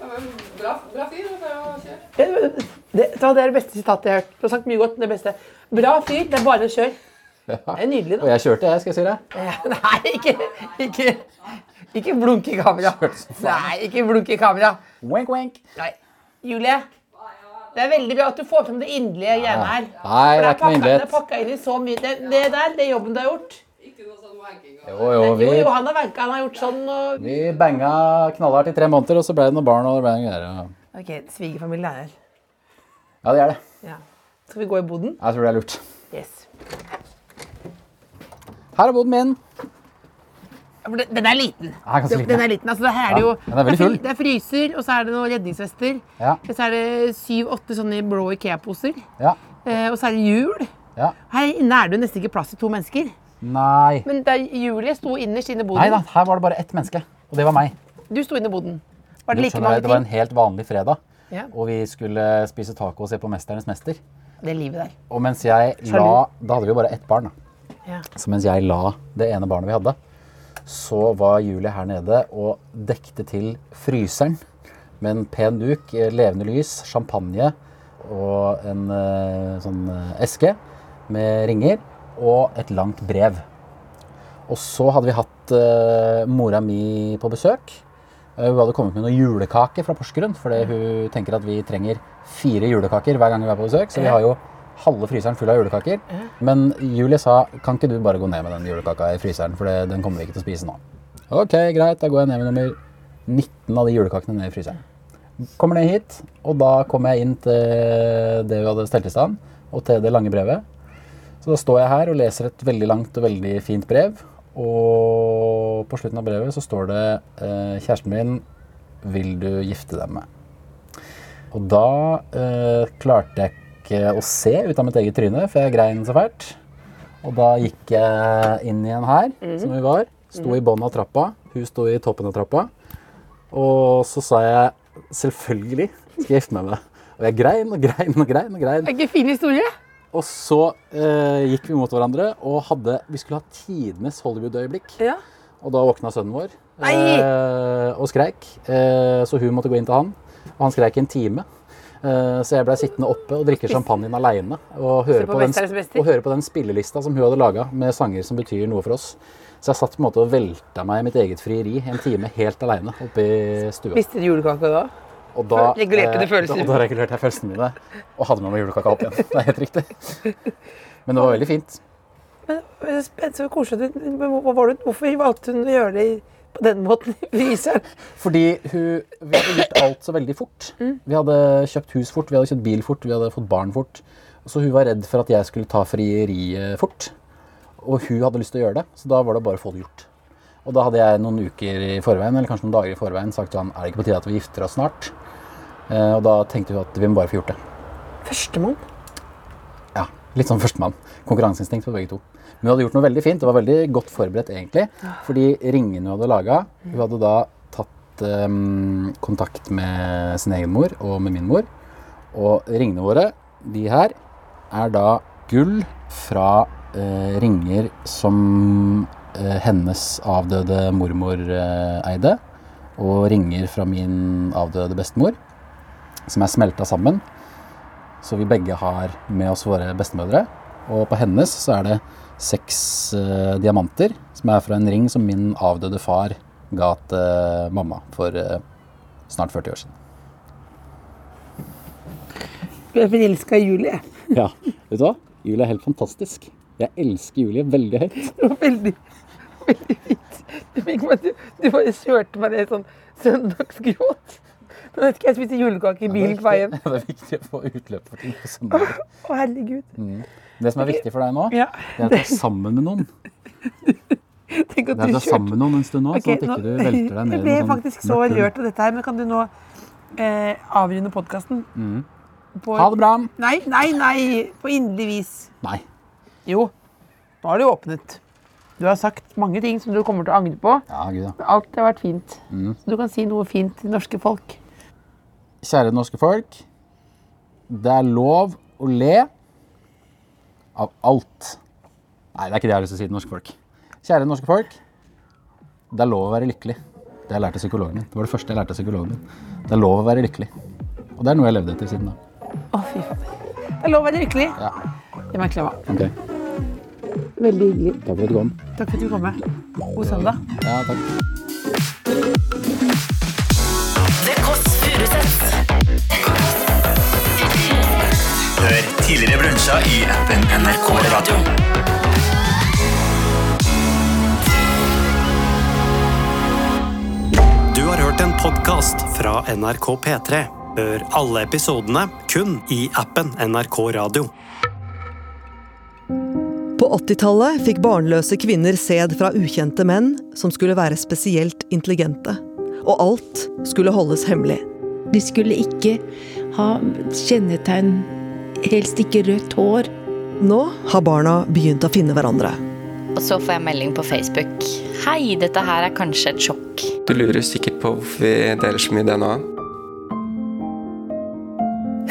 [SPEAKER 8] Jeg var en bra, bra fyr. og bra å kjøre.
[SPEAKER 3] Det, Eh, det, vet du hva, det er det beste sitatet jeg har hørt. Du har sagt mye godt, men det beste. Bra fyr, det er bare å kjøre. Det er nydelig,
[SPEAKER 4] Og
[SPEAKER 3] da.
[SPEAKER 4] jeg kjørte, jeg, skal jeg si det.
[SPEAKER 3] Nei, ikke, ikke, ikke blunk i kamera. Nei, ikke blunk i kamera.
[SPEAKER 4] Wink, wink.
[SPEAKER 3] Nei. Julie, det er veldig bra at du får frem det inderlige greiene her.
[SPEAKER 4] Nei,
[SPEAKER 3] For
[SPEAKER 4] det er ikke noe
[SPEAKER 3] pakka- Det er
[SPEAKER 4] innlighet.
[SPEAKER 3] pakka inn i så mye. Det, det der, det er jobben du har gjort.
[SPEAKER 8] Ikke noe sånn wanking. og-
[SPEAKER 4] Jo, jo, vi,
[SPEAKER 3] Jo, jo, han har verka, han har gjort sånn og
[SPEAKER 4] vi banga knallhardt i tre måneder, og så ble det noen barn. og det ble en greier. og-
[SPEAKER 3] Ok, svigerfamilien er her.
[SPEAKER 4] Ja, det er det.
[SPEAKER 3] Ja. Skal vi gå i boden?
[SPEAKER 4] Jeg tror det er lurt.
[SPEAKER 3] Yes.
[SPEAKER 4] Her er boden min.
[SPEAKER 3] Ja, for Den den er liten.
[SPEAKER 4] Ja, ganske
[SPEAKER 3] Den
[SPEAKER 4] liten,
[SPEAKER 3] den
[SPEAKER 4] ja.
[SPEAKER 3] er liten, altså det her er det jo
[SPEAKER 4] Ja, den er
[SPEAKER 3] det
[SPEAKER 4] veldig
[SPEAKER 3] fri-
[SPEAKER 4] full.
[SPEAKER 3] Det er fryser, og så er det noen redningsvester.
[SPEAKER 4] Ja.
[SPEAKER 3] Og så er det syv-åtte sånne blå Ikea-poser.
[SPEAKER 4] Ja.
[SPEAKER 3] Eh, og så er det jul.
[SPEAKER 4] ja.
[SPEAKER 3] Her inne er det jo nesten ikke plass til to mennesker.
[SPEAKER 4] Nei.
[SPEAKER 3] Men da Julie sto innerst inne i boden.
[SPEAKER 4] Nei da, her var det bare ett menneske, og det var meg.
[SPEAKER 3] Du sto inne i boden. Var
[SPEAKER 4] Du
[SPEAKER 3] det like
[SPEAKER 4] skjønner
[SPEAKER 3] mange
[SPEAKER 4] det, det var en
[SPEAKER 3] ting?
[SPEAKER 4] helt vanlig fredag,
[SPEAKER 3] Ja.
[SPEAKER 4] og vi skulle spise taco og se på Mesternes mester.
[SPEAKER 3] Det livet der.
[SPEAKER 4] Og mens jeg la
[SPEAKER 3] Sjalu.
[SPEAKER 4] Da hadde vi jo bare ett barn. da.
[SPEAKER 3] Ja.
[SPEAKER 4] Så mens jeg la det ene barnet vi hadde, så var Julie her nede og dekte til fryseren med en pen duk, eh, levende lys, champagne og en eh, sånn eh, eske med ringer og et langt brev. Og så hadde vi hatt eh, mora mi på besøk. Eh, Hun hadde kommet med noen julekaker fra Porsgrunn, fordi hun tenker at vi trenger fire julekaker hver gang vi er på besøk. Så vi har jo halve fryseren full av julekaker. Men Julie sa kan ikke du bare gå ned med den julekaka i fryseren, for det, den kommer vi ikke til å spise nå. Ok, greit, da går jeg ned med nummer 19 av de julekakene ned i fryseren. Kommer ned hit, og da kommer jeg inn til det vi hadde stelt i stand, og til det lange brevet. Så da står jeg her og leser et veldig langt og veldig fint brev. Og på slutten av brevet så står det eh, Kjæresten min, vil du gifte deg med meg? Og da eh, klarte jeg ikke å se ut av mitt eget tryne, for jeg grein så fælt. Og da gikk jeg inn igjen her, som vi var. Sto i bånn av trappa. Hun sto i toppen av trappa. Og så sa jeg selvfølgelig skal jeg gifte meg med deg. Og jeg grein og grein og grein. Og grein.
[SPEAKER 6] Det er ikke en fin historie.
[SPEAKER 4] Og så eh, gikk vi mot hverandre og hadde, vi skulle ha tidenes Hollywood-øyeblikk.
[SPEAKER 3] Ja.
[SPEAKER 4] Og da våkna sønnen vår eh, og skreik, eh, så hun måtte gå inn til han. Og han skreik i en time. Eh, så jeg blei sittende oppe og drikke champagnen aleine. Og, høre
[SPEAKER 6] på
[SPEAKER 4] på den-
[SPEAKER 6] Mesternes mester.
[SPEAKER 4] og høre på den spillelista som hun hadde laga med sanger som betyr noe for oss. Så jeg satt på en måte og velta meg i mitt eget frieri en time helt aleine oppe i stua.
[SPEAKER 6] Mistet julekaka da.
[SPEAKER 4] Og da
[SPEAKER 6] Regulerte du
[SPEAKER 4] eh,
[SPEAKER 6] følelser?
[SPEAKER 4] Da, da regulerte jeg følelsene mine og hadde med meg julekaka opp igjen. Det er helt riktig. Men det var veldig fint.
[SPEAKER 3] Men, men spen- så koselig. at du- Men hva var det, hvorfor valgte hun å gjøre det i- på den måten i fryseren?
[SPEAKER 4] Fordi hun, vi hadde gjort alt så veldig fort.
[SPEAKER 6] Mm.
[SPEAKER 4] Vi hadde kjøpt hus fort, vi hadde kjøpt bil fort, vi hadde fått barn fort. Så hun var redd for at jeg skulle ta frieriet fort. Og hun hadde lyst til å gjøre det, så da var det bare å få det gjort. Og da hadde jeg noen uker i forveien, eller kanskje noen dager i forveien sagt til han er det ikke på tide at vi gifter oss snart. Eh, og da tenkte hun at vi må bare få gjort det.
[SPEAKER 3] Førstemann.
[SPEAKER 4] Ja, litt sånn førstemann. Konkurranseinstinkt på begge to. Men hun hadde gjort noe veldig fint. Det var veldig godt forberedt, egentlig. Fordi ringene hun hadde laga Hun hadde da tatt eh, kontakt med sin egen mor og med min mor. Og ringene våre, de her, er da gull fra eh, ringer som eh, hennes avdøde mormor eh, eide. Og ringer fra min avdøde bestemor, som er smelta sammen. Så vi begge har med oss våre bestemødre. Og på hennes så er det seks eh, diamanter, som er fra en ring som min avdøde far ga til mamma for eh, snart 40 år siden.
[SPEAKER 6] Jeg er forelska i Julie. jeg.
[SPEAKER 4] Ja, vet du hva? Julie er helt fantastisk. Jeg elsker Julie veldig høyt.
[SPEAKER 3] Det var veldig, veldig fint. Du, fikk meg, til- du bare kjørte meg ned i sånn søndagsgråt. Men vet ikke, jeg spiste julekake i bilen på vei hjem.
[SPEAKER 4] Det er viktig å få utløp for ting på søndag.
[SPEAKER 3] Å, herregud.
[SPEAKER 4] Det som er viktig for deg nå,
[SPEAKER 3] Ja.
[SPEAKER 4] det er at du er sammen med noen.
[SPEAKER 3] Tenk at
[SPEAKER 4] Det er at
[SPEAKER 3] du
[SPEAKER 4] du er sammen
[SPEAKER 3] kjørte.
[SPEAKER 4] med noen en stund nå,
[SPEAKER 3] Ok,
[SPEAKER 4] sånn at ikke
[SPEAKER 3] nå-
[SPEAKER 4] du velter deg ned
[SPEAKER 3] Jeg
[SPEAKER 4] i
[SPEAKER 3] ble
[SPEAKER 4] noe sånn
[SPEAKER 3] faktisk så
[SPEAKER 4] mørkt hull.
[SPEAKER 3] rørt av dette her, men kan du nå eh, avrunde podkasten? På,
[SPEAKER 4] Mm. Ha det bra!
[SPEAKER 3] Nei, nei, nei! På inderlig vis.
[SPEAKER 4] Nei.
[SPEAKER 3] Jo, nå har du åpnet. Du har sagt mange ting som du kommer til å angre på.
[SPEAKER 4] Ja, gud da.
[SPEAKER 3] Alt har vært fint.
[SPEAKER 4] Mm.
[SPEAKER 3] Så du kan si noe fint til norske folk.
[SPEAKER 4] Kjære norske folk. Det er lov å le av alt. Nei, det er ikke det jeg har lyst til å si til norske folk. Kjære norske folk. Det er lov å være lykkelig. Det har jeg lærte psykologen min. Det var det første jeg lærte av psykologen min. Det er lov å være lykkelig. Og det er noe jeg levde etter siden da.
[SPEAKER 3] Å, fy fader. Det er lov å være lykkelig.
[SPEAKER 4] Ja.
[SPEAKER 3] Det merker jeg meg.
[SPEAKER 4] Ok.
[SPEAKER 6] Veldig hyggelig.
[SPEAKER 4] Takk for at du kom.
[SPEAKER 3] Takk for at du kom med. God søndag.
[SPEAKER 4] Ja, takk.
[SPEAKER 2] Det Kåss Furuseths.
[SPEAKER 9] Hør tidligere brunsja i appen NRK Radio.
[SPEAKER 1] Du har hørt en podkast fra NRK P3. Hør alle episodene kun i appen NRK Radio.
[SPEAKER 10] På 80-tallet fikk barnløse kvinner sæd fra ukjente menn som skulle være spesielt intelligente. Og alt skulle holdes hemmelig.
[SPEAKER 11] De skulle ikke ha kjennetegn, helst ikke rødt hår.
[SPEAKER 10] Nå har barna begynt å finne hverandre.
[SPEAKER 12] Og så får jeg melding på Facebook. Hei, dette her er kanskje et sjokk.
[SPEAKER 13] Du lurer sikkert på hvorfor vi deler så mye DNA.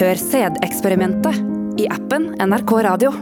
[SPEAKER 11] Hør sædeksperimentet i appen NRK Radio.